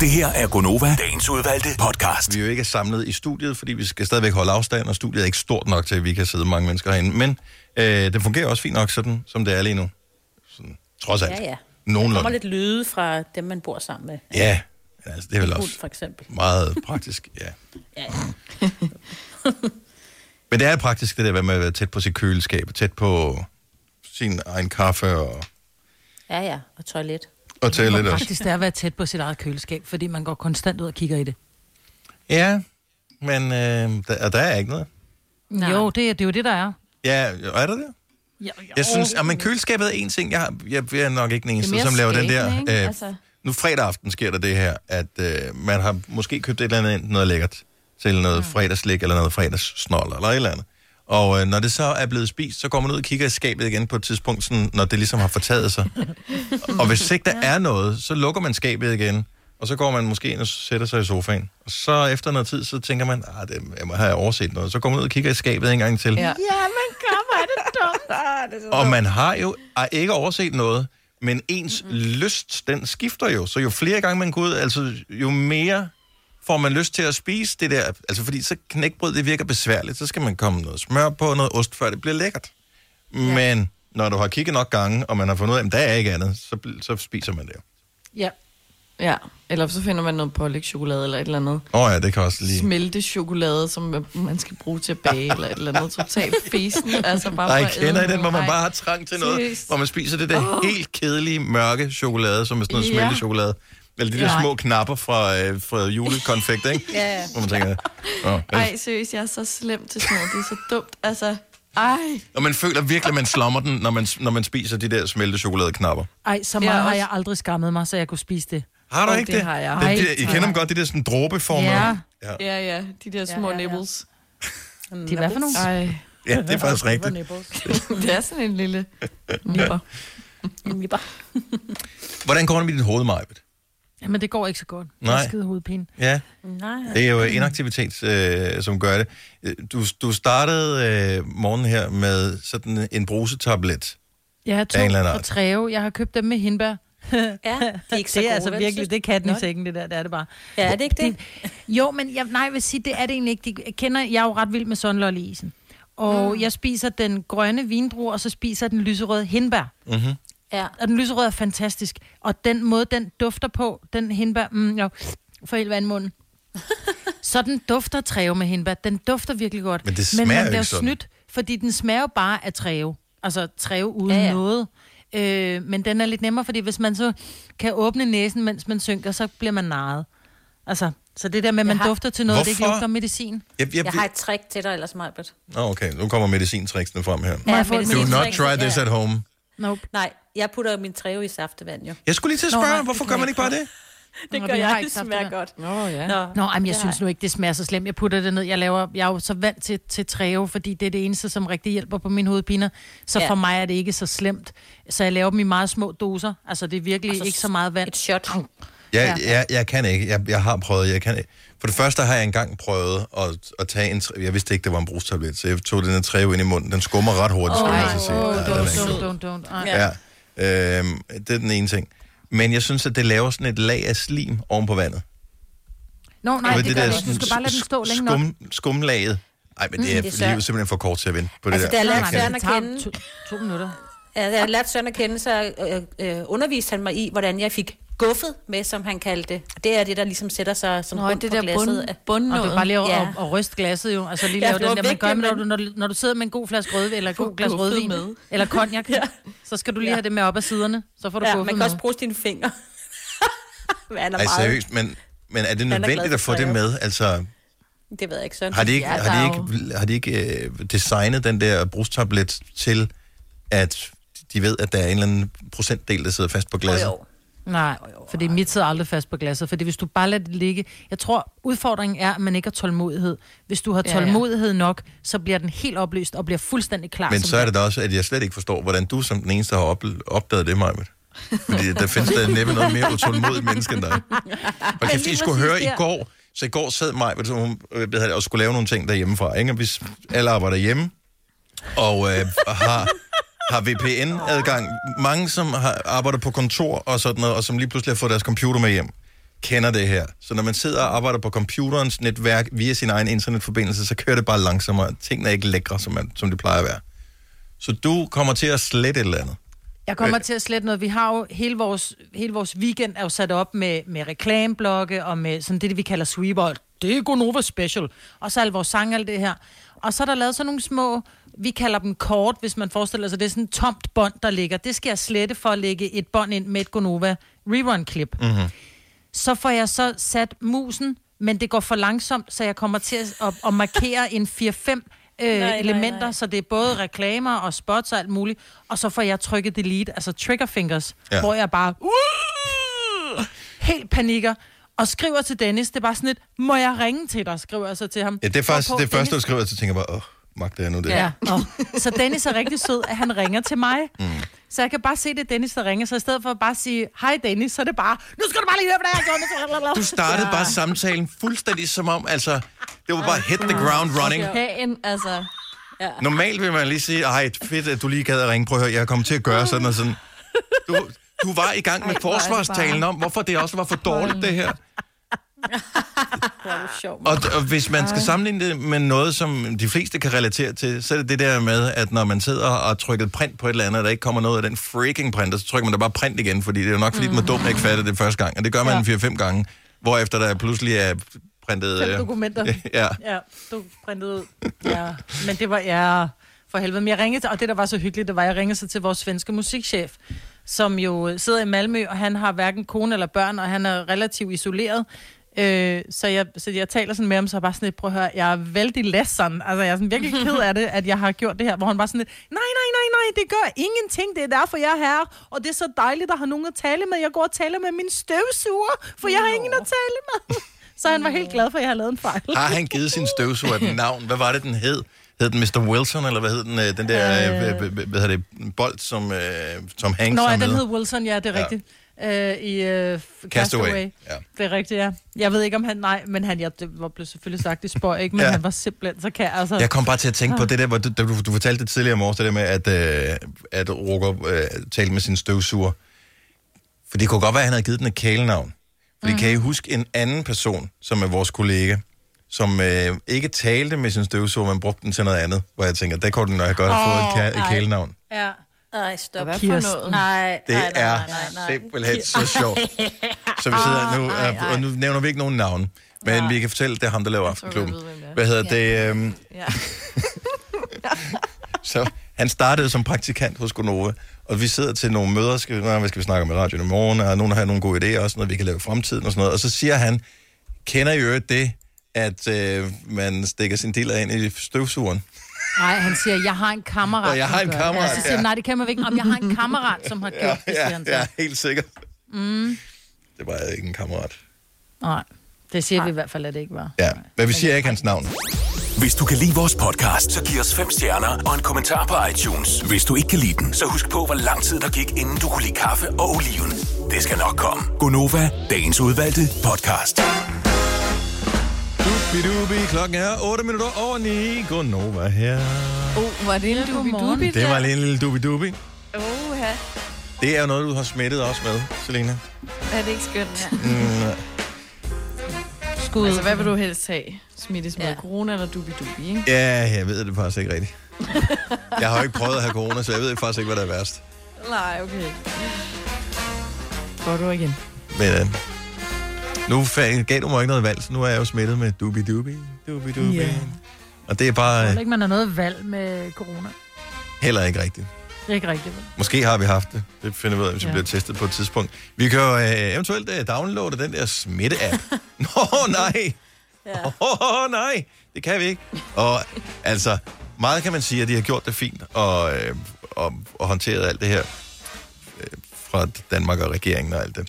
S1: Det her er Gonova, dagens udvalgte podcast. Vi er jo ikke samlet i studiet, fordi vi skal stadigvæk holde afstand, og studiet er ikke stort nok til, at vi kan sidde mange mennesker herinde. Men øh, det fungerer også fint nok, sådan som det er lige nu. Sådan, trods alt.
S4: Ja, ja. Der kommer
S1: Nogenlunde.
S4: lidt lyde fra dem, man bor sammen med.
S1: Ja, altså, det er vel
S4: Hund,
S1: også
S4: for eksempel.
S1: meget praktisk, ja.
S4: Ja.
S1: Men det er praktisk, det der med at være tæt på sit køleskab, tæt på sin egen kaffe og,
S4: Ja, ja. Og toilet.
S1: og toilet
S3: Hvor
S1: også.
S3: praktisk det er at være tæt på sit eget køleskab, fordi man går konstant ud og kigger i det.
S1: Ja, men øh, der, og der er ikke noget.
S3: Nej. Jo, det, er- det er jo det, der er.
S1: Ja, er der det?
S3: Jo,
S1: Jeg synes, at men køleskabet er en ting. Jeg, har- jeg, jeg er nok ikke
S2: Det er
S1: den eneste,
S2: mere
S1: som laver den der.
S2: skabende, ikke?
S1: Øh,
S2: Altså.
S1: Nu fredag aften sker der det her, at øh, man har måske købt et eller andet ind, noget lækkert, til noget fredagslik eller noget fredagssnold eller et eller andet. Og øh, når det så er blevet spist, så går man ud og kigger i skabet igen på et tidspunkt, sådan, når det ligesom har fortaget sig. og hvis ikke der er noget, så lukker man skabet igen, og så går man måske ind og sætter sig i sofaen. Og så efter noget tid, så tænker man, at jeg må have overset noget. Så går man ud og kigger i skabet en gang til.
S6: Ja, men kom, er det dumt. ah, det er så
S1: Og man har jo er ikke overset noget, men ens mm-hmm. lyst, den skifter jo. Så jo flere gange man går ud, altså jo mere får man lyst til at spise det der. Altså fordi så knækbrød, det virker besværligt. Så skal man komme noget smør på, noget ost, før det bliver lækkert. Ja. Men når du har kigget nok gange, og man har fundet ud af, at der er ikke andet, så, bl- så spiser man det jo.
S3: Ja.
S2: Ja, eller så finder man noget pålægtschokolade eller et eller andet.
S1: Åh oh, ja, det kan også lige...
S2: Smelte chokolade, som man- man skal bruge til at bage, eller et eller andet totalt fesen. Altså bare for
S1: Nej,
S2: at æde
S1: kender I den,
S2: nogle-
S1: hvor man
S2: Ej.
S1: bare har trang til noget,
S2: Seriøst.
S1: hvor man spiser det der
S2: Åh.
S1: helt kedelige, mørke chokolade, som er sådan
S2: Ja.
S1: noget smeltechokolade. Eller de der
S2: Ja.
S1: små knapper fra, øh, fra julekonfekt, ikke?
S2: Ja, ja.
S1: Hvor man tænker, oh,
S2: Ej, seriøst, jeg er så slem til sådan noget. Det er så dumt. Altså, ej.
S1: Og man føler virkelig, at man slummer den, når man, når man spiser de der smeltechokoladeknapper.
S3: Ej, så
S2: Ja,
S3: meget har
S2: også-
S3: jeg aldrig skammet mig, så jeg kunne spise det.
S1: Har du
S3: Åh,
S1: ikke det?
S3: det? har jeg.
S1: Det,
S3: Ej,
S1: det, I kender dem godt, de der sådan dråbeformede.
S3: Ja.
S1: Ja.
S2: Ja, ja, de der små ja, ja, ja. nibbles.
S3: De er hvad for nogle?
S2: Ej.
S1: Ja, det er faktisk rigtigt.
S2: det er sådan en lille nipper. nipper.
S1: Hvordan går det med dit hoved, Majbet?
S3: Jamen, det går ikke så godt.
S1: Nej.
S3: Jeg har skide hovedpine.
S1: Ja.
S3: Nej.
S1: Det er jo inaktivitet, øh, som gør det. Øh, Du, du startede øh, morgenen her med sådan en brusetablet.
S3: Jeg har
S1: Af en
S3: to
S1: eller anden
S3: fra
S1: art.
S3: Treve. Jeg har købt dem med hindbær. ja, de
S4: er ikke så
S3: det
S4: gode,
S3: er altså
S4: vel, synes
S3: virkelig,
S4: du?
S3: det kan den i
S4: Nå.
S3: sengen, det der, det er det bare.
S4: Ja, er det ikke det?
S3: jo, men jeg, nej, jeg vil sige, det er det egentlig ikke. De, jeg, kender, jeg er jo ret vild med sunlol i isen. Og
S4: Mm.
S3: mm. jeg spiser den grønne vindrue, og så spiser jeg den lyserøde hindbær.
S1: Mm-hmm.
S3: Ja. Og den lyserøde er fantastisk. Og den måde, den dufter på, den hindbær... Mm, jeg får helt vand i munden. så den dufter af træve med hindbær. Den dufter virkelig godt.
S1: Men det
S3: Men
S1: smager
S3: man
S1: jo
S3: bliver
S1: ikke sådan.
S3: snydt, fordi den smager jo bare af træve. Altså træve uden ja, ja. noget. Øh, men den er lidt nemmere, fordi hvis man så kan åbne næsen, mens man synker, så bliver man narret. Altså, så det der med, at man
S4: har-
S3: har... dufter til noget, Hvorfor? det ikke
S1: Hvorfor?
S3: lugter medicin.
S1: Jeg, jeg,
S4: Jeg har et trick til dig ellers, Majbert.
S1: Nå, okay, nu kommer medicintricksene frem her.
S4: Ja,
S1: Do not
S4: medicintricksene,
S1: try this
S4: ja.
S1: at home.
S3: Nope.
S4: Nej, jeg putter jo min træve i saftevand, jo.
S1: Jeg skulle lige til at
S4: Nå,
S1: spørge,
S4: nej, det
S1: hvorfor
S4: kan
S1: gør man
S4: jeg
S1: ikke bare
S4: ikke.
S1: det?
S4: Det
S3: Nå,
S4: gør
S3: vi
S4: jeg,
S3: har
S4: det
S3: ikke saftevand.
S4: smager godt.
S2: Nå, ja.
S4: Nå,
S3: Nå, jamen, jeg
S4: det
S3: synes nu ikke, det smager så slemt. Jeg putter det ned. Jeg, laver, jeg er jo så vant til, til træve, fordi det er det eneste, som rigtig hjælper på mine hovedpiner. Så
S4: Ja.
S3: ja. for mig er det ikke så slemt. Så jeg laver dem i meget små doser. Altså, det er virkelig
S4: Altså,
S3: altså, ikke så meget vand. Et
S4: shot.
S1: Jeg, jeg, jeg kan ikke. Jeg, jeg har prøvet. Jeg kan ikke. For det første har jeg engang prøvet at, at tage en... tre- Jeg vidste ikke, det var en brustablet, så jeg tog den her træve ind i munden. Den skummer ret hurtigt, skulle jeg så sige.
S3: Åh,
S1: Ja, den er
S3: don't,
S1: ikke god.
S3: don't, don't, don't. Ej.
S1: Ja. ja. Øhm, det er den ene ting. Men jeg synes, at det laver sådan et lag af slim oven på vandet.
S3: Nå, nej,
S1: Og
S3: det, det gør
S1: der
S3: det ikke. Du skal
S1: sådan
S3: bare lade den stå
S1: sk-
S3: længe nok.
S1: skum, nok. Skumlaget. Nej, men
S4: Mm,
S1: det er,
S4: det er
S1: mm,
S4: svært.
S1: livet simpelthen for kort til at vinde på det
S4: Altså,
S1: der.
S4: da jeg lærte
S1: Jeg kan
S4: Søren
S1: ikke.
S4: at kende...
S3: To, to minutter.
S4: Ja, da jeg lærte Søren at kende, så øh, øh, underviste han mig i, hvordan jeg fik guffet med, som han kaldte det. Og det er det, der ligesom sætter sig som
S3: Nå,
S4: bund
S3: det
S4: på
S3: der
S4: glasset.
S3: bund-
S4: af-
S3: bundnåde. Og du bare lige over-
S4: ja.
S3: og ryste glasset jo. Altså lige
S4: Ja,
S3: lave
S4: det
S3: den
S4: var
S3: der, man gør, når
S4: vigtigt,
S3: du, når, du, når du sidder med en god flaske rødvin, eller en god glas
S4: guffet
S3: rødvin,
S4: med.
S3: med. eller cognac, ja. så skal du lige
S4: Ja.
S3: have det med op ad siderne. Så får du
S4: ja,
S3: guffet
S4: man kan
S3: med.
S4: også bruge sine fingre. Han er
S1: Ej,
S4: meget-
S1: seriøst, men, men er det
S4: glad
S1: nødvendigt
S4: for
S1: at få det
S4: træer.
S1: med? Altså,
S4: Det ved jeg ikke, Søren.
S1: har de ikke,
S4: Ja,
S1: har de
S4: der er jo-
S1: ikke, har de ikke øh, designet den der brustablet til, at de ved, at der er en eller anden procentdel, der sidder fast på glasset?
S3: Nej, fordi mit sidder aldrig fast på glasset. Fordi hvis du bare lader det ligge... Jeg tror, udfordringen er, at man ikke har tålmodighed. Hvis du har
S2: Ja, ja.
S3: tålmodighed nok, så bliver den helt opløst og bliver fuldstændig klar.
S1: Men
S3: som
S1: så er det da også, at jeg slet ikke forstår, hvordan du som den eneste har op- opdaget det, Majbet. Fordi der findes der næppe noget mere utålmodigt menneske end dig. Og kæft, I skulle høre i går, så i går sad Majbet, som hun øh, hvad hedder det, og skulle lave nogle ting derhjemmefra, ikke? Og vi s- alle arbejder hjemme, og øh, har, har VPN-adgang. Mange, som har, arbejder på kontor og sådan noget, og som lige pludselig har fået deres computer med hjem, kender det her. Så når man sidder og arbejder på computerens netværk via sin egen internetforbindelse, så kører det bare langsommere. Tingene er ikke lækre, som, man, som det plejer at være. Så du kommer til at slette et eller andet.
S3: Jeg kommer til at slette noget. Vi har jo hele vores, hele vores weekend er jo sat op med, med reklameblokke og med sådan det, det vi kalder sweeper. Det er Gonova Special. Og så alle vores sange og alt det her. Og så er der lavet sådan nogle små, vi kalder dem kort, hvis man forestiller sig, det er sådan et tomt bånd, der ligger. Det skal jeg slette for at lægge et bånd ind med et Gonova rerun-klip.
S17: Mm-hmm.
S3: så får jeg så sat musen, men det går for langsomt, så jeg kommer til at, at, at markere en 4-5 øh,
S17: nej,
S3: elementer,
S17: nej.
S3: så det er både reklamer og spots og alt muligt, og så får jeg trykket delete, altså trigger fingers,
S17: Ja.
S3: ja. hvor jeg bare uh, helt panikker, og skriver til Dennis, det er bare sådan et, må jeg ringe til dig, skriver jeg så til ham.
S1: Ja, det er faktisk
S3: Hvorpå
S1: det første, du skriver, så tænker jeg bare, åh, magt det er nu det.
S3: Ja. Og, så Dennis er rigtig sød, at han ringer til mig.
S1: Mm.
S3: Så jeg kan bare se, det er Dennis, der ringer. Så i stedet for bare at sige, hej Dennis, så er det bare, nu skal du bare lige høre, hvad der er, jeg har gjort.
S1: Du startede bare samtalen fuldstændig som om, altså, det var bare hit the ground running.
S2: Hagen, altså. Ja.
S1: Normalt vil man lige sige, ej, fedt, at du lige gad at ringe. Prøv at høre, jeg er kommet til at gøre sådan og sådan. Du, du var i gang med
S2: Ej, hvor er det
S1: forsvarstalen
S2: bare-
S1: om, hvorfor det også var for dårligt, det her.
S3: Ah.
S1: Og, og hvis man skal sammenligne det med noget, som de fleste kan relatere til, så er det det der med, at når man sidder og har trykket print på et eller andet, og der ikke kommer noget af den freaking printer, så trykker man da bare print igen, fordi det er jo nok, fordi mm.
S3: Mhm.
S1: man dumt ikke fattede det første gang. Og det gør man ja. 4-5 gange, hvorefter der pludselig er printet...
S3: Fem
S1: øh,
S3: dokumenter.
S1: ja.
S3: ja. Du printede ud. Ja. Men det var, ja, for helvede. Men jeg ringede, til- og det der var så hyggeligt, det var, at jeg ringede så til vores svenske musikchef, som jo sidder i Malmø, og han har hverken kone eller børn, og han er relativt isoleret. Øh, så, jeg, så jeg taler sådan med ham, så er jeg bare sådan lidt, prøv at høre, jeg er vældig ledsen. Altså, jeg er sådan virkelig ked af det, at jeg har gjort det her, hvor han bare sådan lidt, nej, nej, nej, nej, det gør ingenting, det er derfor, jeg er her, og det er så dejligt at have nogen at tale med. Jeg går og taler med min støvsuger, for jeg har ingen at tale med. Så han var helt glad for, at jeg havde lavet en fejl.
S1: Har han givet sin støvsuger et navn? Hvad var det, den hed? Hed den Mr. Wilson, eller hvad hed den? øh, Den der, øh, hvad- hvad hvad hedder det, bold, som øh, Tom Hanks
S3: Nå,
S1: har
S3: ja, den
S1: med?
S3: hed Wilson, ja, det er
S1: Ja.
S3: rigtigt. Øh, I øh, Castaway.
S1: Castaway, ja.
S3: Det er rigtigt, ja. Jeg ved ikke, om han... Nej, men han... Ja, det var blevet selvfølgelig sagt i spøg, ikke? Men
S1: Ja.
S3: ja. han var simpelthen så kan altså...
S1: Jeg kom bare til at tænke på det der, hvor du, da du, du fortalte det tidligere om års, det der med, at, øh, at Roger øh, talte med sin støvsuger. For det kunne godt være, at han havde givet den et kælenavn. Fordi mm. kan I huske en anden person, som er vores kollega, som øh, ikke talte med sin støvsuger, men brugte den til noget andet, hvor jeg tænker, der kunne den nok godt have fået et, ka- et kælenavn.
S3: Ja.
S4: Ej, stop.
S1: Hvad
S4: Hvad
S1: for
S4: for
S1: Kirsten.
S4: noget? Nej,
S1: Det
S4: nej, nej,
S1: er
S4: nej, nej.
S1: simpelthen så sjovt. Så vi sidder nu, øh, og nu nævner vi ikke nogen navn, men vi kan fortælle, det er ham, der laver Aftenklubben. Hvad hedder det? øhm,
S2: Ja.
S1: Så han startede som praktikant hos Gonova, og vi sidder til nogle møder, skal, vi- "Nå, hvad skal vi snakke om i radioen i morgen, og nogen har nogle gode idéer, og sådan noget, vi kan lave i fremtiden og sådan noget. Og så siger han, kender I øvrigt det, at øh, man stikker sin dealer ind i støvsugeren?
S4: Ah.
S3: Nej, han siger, jeg har en kammerat.
S1: Og jeg har
S3: som
S1: en
S3: gør
S1: kammerat,
S3: det. Ja, så siger
S1: ja.
S3: han, nej, det kan man vel ikke. Om jeg har en kammerat, som har gjort
S1: Ja,
S3: det, siger
S1: ja,
S3: han så.
S1: ja, helt sikkert.
S3: Mm.
S1: Det var ikke en kammerat.
S3: Nej, det siger vi i hvert fald, at det ikke var.
S1: Ja, men vi siger ikke hans navn.
S5: Hvis du kan lide vores podcast, så giv os fem stjerner og en kommentar på iTunes. Hvis du ikke kan lide den, så husk på, hvor lang tid der gik, inden du kunne lide kaffe og oliven. Det skal nok komme.
S1: Gonova, dagens udvalgte podcast. Dubidubi, klokken er 8 minutter over 9. Gonova her.
S2: Oh, var det en dubi-dubi
S1: Det var lige en lille dubidubi.
S2: Oh, ja.
S1: Det er jo noget, du har smittet os med, Selina.
S2: Er det ikke skønt? Ja.
S1: Mm,
S2: Skud. Altså, hvad vil du helst have? Smittes med ja. corona eller dubi-dubi, ikke?
S1: ja, jeg ved det faktisk ikke rigtigt. Jeg har jo ikke prøvet at have corona, så jeg ved faktisk ikke, hvad der er værst.
S2: Nej, okay. Går du igen?
S1: Men øh, nu fa- gav du mig ikke noget valg, så nu er jeg jo smittet med dubidubi, dubidubi.
S3: Ja.
S1: Yeah. Og det er bare
S3: Jeg
S1: øh,
S3: tror ikke, man har noget valg med corona.
S1: heller ikke rigtigt.
S3: Det er ikke rigtigt. vel?
S1: Måske har vi haft det. Det finder vi ud af, hvis vi
S3: Ja.
S1: bliver testet på et tidspunkt. Vi kan jo øh, eventuelt øh, downloade den der smitte-app. Nå, nej! Åh, oh, nej! Det kan vi ikke. Og altså, meget kan man sige, at de har gjort det fint og, øh, og, og håndteret alt det her øh, fra Danmark og regeringen og alt det.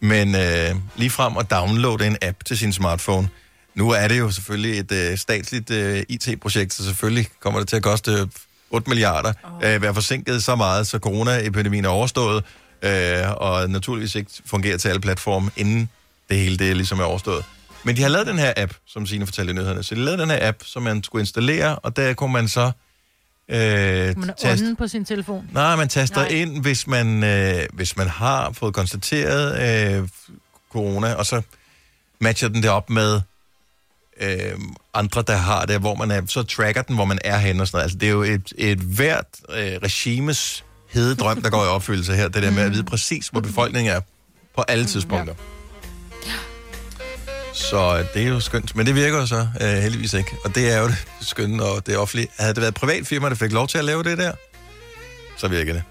S1: Men øh, lige frem at downloade en app til sin smartphone. Nu er det jo selvfølgelig et øh, statsligt øh, IT-projekt, så selvfølgelig kommer det til at koste 8 milliarder. Oh. Øh, være forsinket så meget, så coronaepidemien er overstået, øh, og naturligvis ikke fungerer til alle platforme, inden det hele det ligesom er overstået. Men de har lavet den her app, som Signe fortalte i nyhederne. Så de lavede den her app, som man skulle installere, og der kunne man så øh,
S3: Man er
S1: taste
S3: ånden på sin telefon.
S1: Nej, man taster
S3: Nej.
S1: Nej. ind, hvis man, øh, hvis man har fået konstateret øh, corona, og så matcher den det op med øh, andre, der har det, hvor man er, så tracker den, hvor man er henne og sådan noget. Altså, det er jo et, et hvert øh, regimes hede drøm, der går i opfyldelse her, det der med at vide præcis, hvor befolkningen er på alle tidspunkter. Så øh, det er jo skønt, men det virker jo så øh, heldigvis ikke. Og det er jo det skønne, og det offentlige. Havde det været et privat firma, der fik lov til at lave det der, så virker det.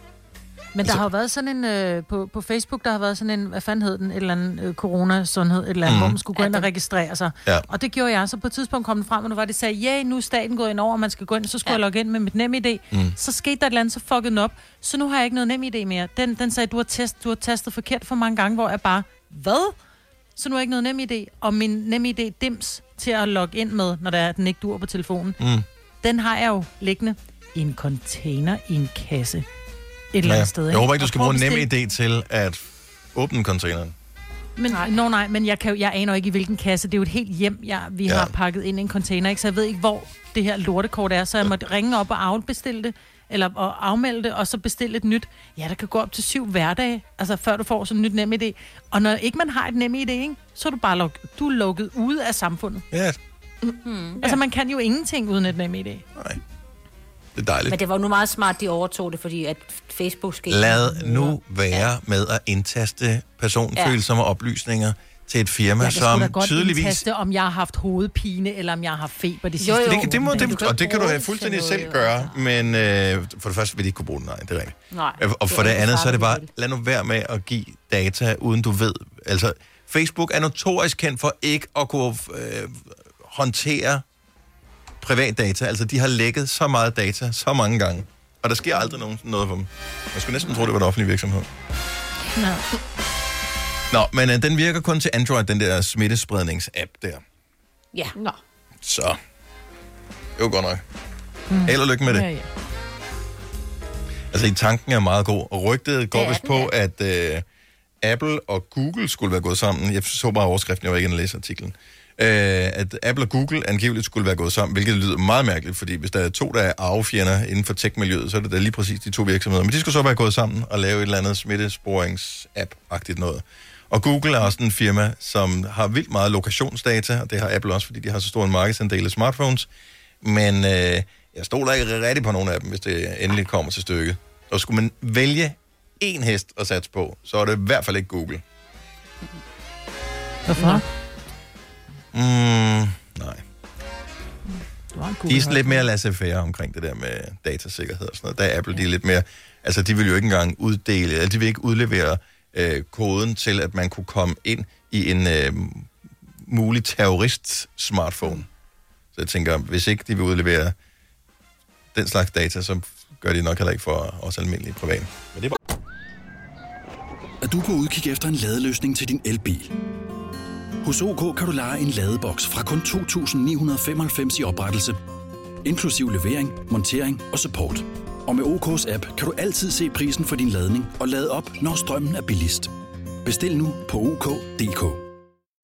S3: Men
S1: altså-
S3: der har jo været sådan en, øh, på, på Facebook, der har været sådan en, hvad fanden hed den, et eller andet øh, corona-sundhed, et eller andet,
S1: Mhm.
S3: mm. hvor man skulle gå ind og registrere
S4: Altså,
S3: sig.
S1: Ja.
S3: Og det gjorde jeg, så på et tidspunkt kom den frem, og nu var det, sagde, ja, nu er staten gået ind over, og man skal gå ind, så skulle ja. jeg logge ind med mit NemID.
S1: Mm.
S3: Mm. Så skete der et eller andet, så fuckede den op, så nu har jeg ikke noget NemID mere. Den, den sagde, du har, test, du har tastet forkert for mange gange, hvor jeg bare, hvad? Så nu har jeg ikke noget NemID, og min NemID dims til at logge ind med, når der er, at den ikke dur på telefonen.
S1: Mm.
S3: Den har jeg jo liggende i en container i en kasse. Et eller
S1: Ja.
S3: andet sted.
S1: Jeg håber ikke, du
S3: Og
S1: skal
S3: prøv
S1: bruge
S3: at
S1: nem
S3: bestille-
S1: idé til at åbne containeren.
S3: Men, nej. Nå, nej, men jeg, kan, jo- jeg aner jo ikke, i hvilken kasse. Det er jo et helt hjem, jeg, vi
S1: Ja.
S3: ja. har pakket ind i en container, ikke? så jeg ved ikke, hvor det her lortekort er. Så jeg måtte ringe op og afbestille det, eller at afmelde det, og så bestille et nyt. Ja, der kan gå op til syv hverdage, altså før du får sådan et nyt nem idé. Og når ikke man har et nem idé, ikke, så er du bare luk- du er lukket ude af samfundet.
S1: Ja.
S3: Mm-hmm.
S4: Mm.
S3: Altså, man kan jo ingenting uden et nem idé.
S1: Nej. Det er dejligt.
S4: Men det var jo nu meget smart, de overtog det, fordi at Facebook skete.
S1: Lad nu være ja. med at indtaste personfølsomme ja. oplysninger til et firma,
S3: Jeg kan sgu da
S1: som
S3: godt
S1: tydeligvis...
S3: indtaste, om jeg har haft hovedpine, eller om jeg har haft feber de sidste
S1: Jo, jo, det,
S3: år.
S1: kan- det må,
S3: Men
S1: det, og det kan du
S3: bruge
S1: have
S3: til
S1: fuldstændig
S3: noget,
S1: selv
S3: jo. altså.
S1: gøre, men øh, for det første vil de ikke kunne bruge den, nej, det er rigtigt.
S3: Nej,
S1: Øh, og
S3: det
S1: for
S3: er
S1: det
S3: ikke
S1: andet, så er
S3: starten,
S1: det bare,
S3: vel.
S1: lad nu være med at give data, uden du ved. Altså, Facebook er notorisk kendt for ikke at kunne øh, håndtere privatdata. Altså, de har lækket så meget data så mange gange, og der sker aldrig nogen, noget for dem. Jeg skulle næsten tro, det var en offentlig virksomhed.
S3: Nå.
S1: Nå, men øh, den virker kun til Android, den der smittesprednings-app der.
S4: Ja.
S2: Nå.
S1: Så, det er jo godt nok. Held og lykke med det.
S2: Ja, ja.
S1: Altså, i tanken er meget god, og rygtet går
S2: Det er
S1: vist
S2: den,
S1: på, at øh, Apple og Google skulle være gået sammen. Jeg så bare overskriften, jeg var ikke inde og læse artiklen. Øh, at Apple og Google angiveligt skulle være gået sammen, hvilket lyder meget mærkeligt, fordi hvis der er to, der er arvefjender inden for tech-miljøet, så er det da lige præcis de to virksomheder. Men de skulle så være gået sammen og lave et eller andet smittesporings-app-agtigt noget. Og Google er også en firma, som har vildt meget lokationsdata, og det har Apple også, fordi de har så stor en markedsandel af smartphones. Men øh, jeg stoler ikke rigtig på nogen af dem, hvis det endelig kommer til stykket. Og skulle man vælge én hest at satse på, så er det i hvert fald ikke Google.
S3: Hvorfor?
S1: Mm, nej.
S3: Du har en
S1: De er sådan lidt mere laissez-faire omkring det der med datasikkerhed og sådan noget. Der er Apple, de er lidt mere... Altså, de vil jo ikke engang uddele, eller de vil ikke udlevere øh, koden til, at man kunne komme ind i en øh, mulig terrorist-smartphone. Så jeg tænker, hvis ikke de vil udlevere den slags data, så gør de nok heller ikke for os almindelige private. Men det er bare...
S14: Er du på udkig efter en ladeløsning til din elbil? Hos OK kan du lege en ladeboks fra kun 2.995 i oprettelse, inklusiv levering, montering og support. Og med OK's app kan du altid se prisen for din ladning og lade op, når strømmen er billigst. Bestil nu på OK.dk.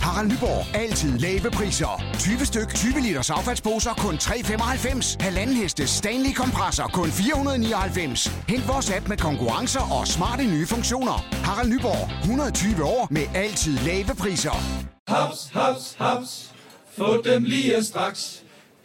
S15: Harald Nyborg. Altid lave priser. 20 styk, 20 liters affaldsposer kun 3,95. Halvanden heste Stanley kompresser kun 499. Hent vores app med konkurrencer og smarte nye funktioner. Harald Nyborg. 120 år med altid lave priser.
S16: Haps, haps, haps. Få dem lige straks.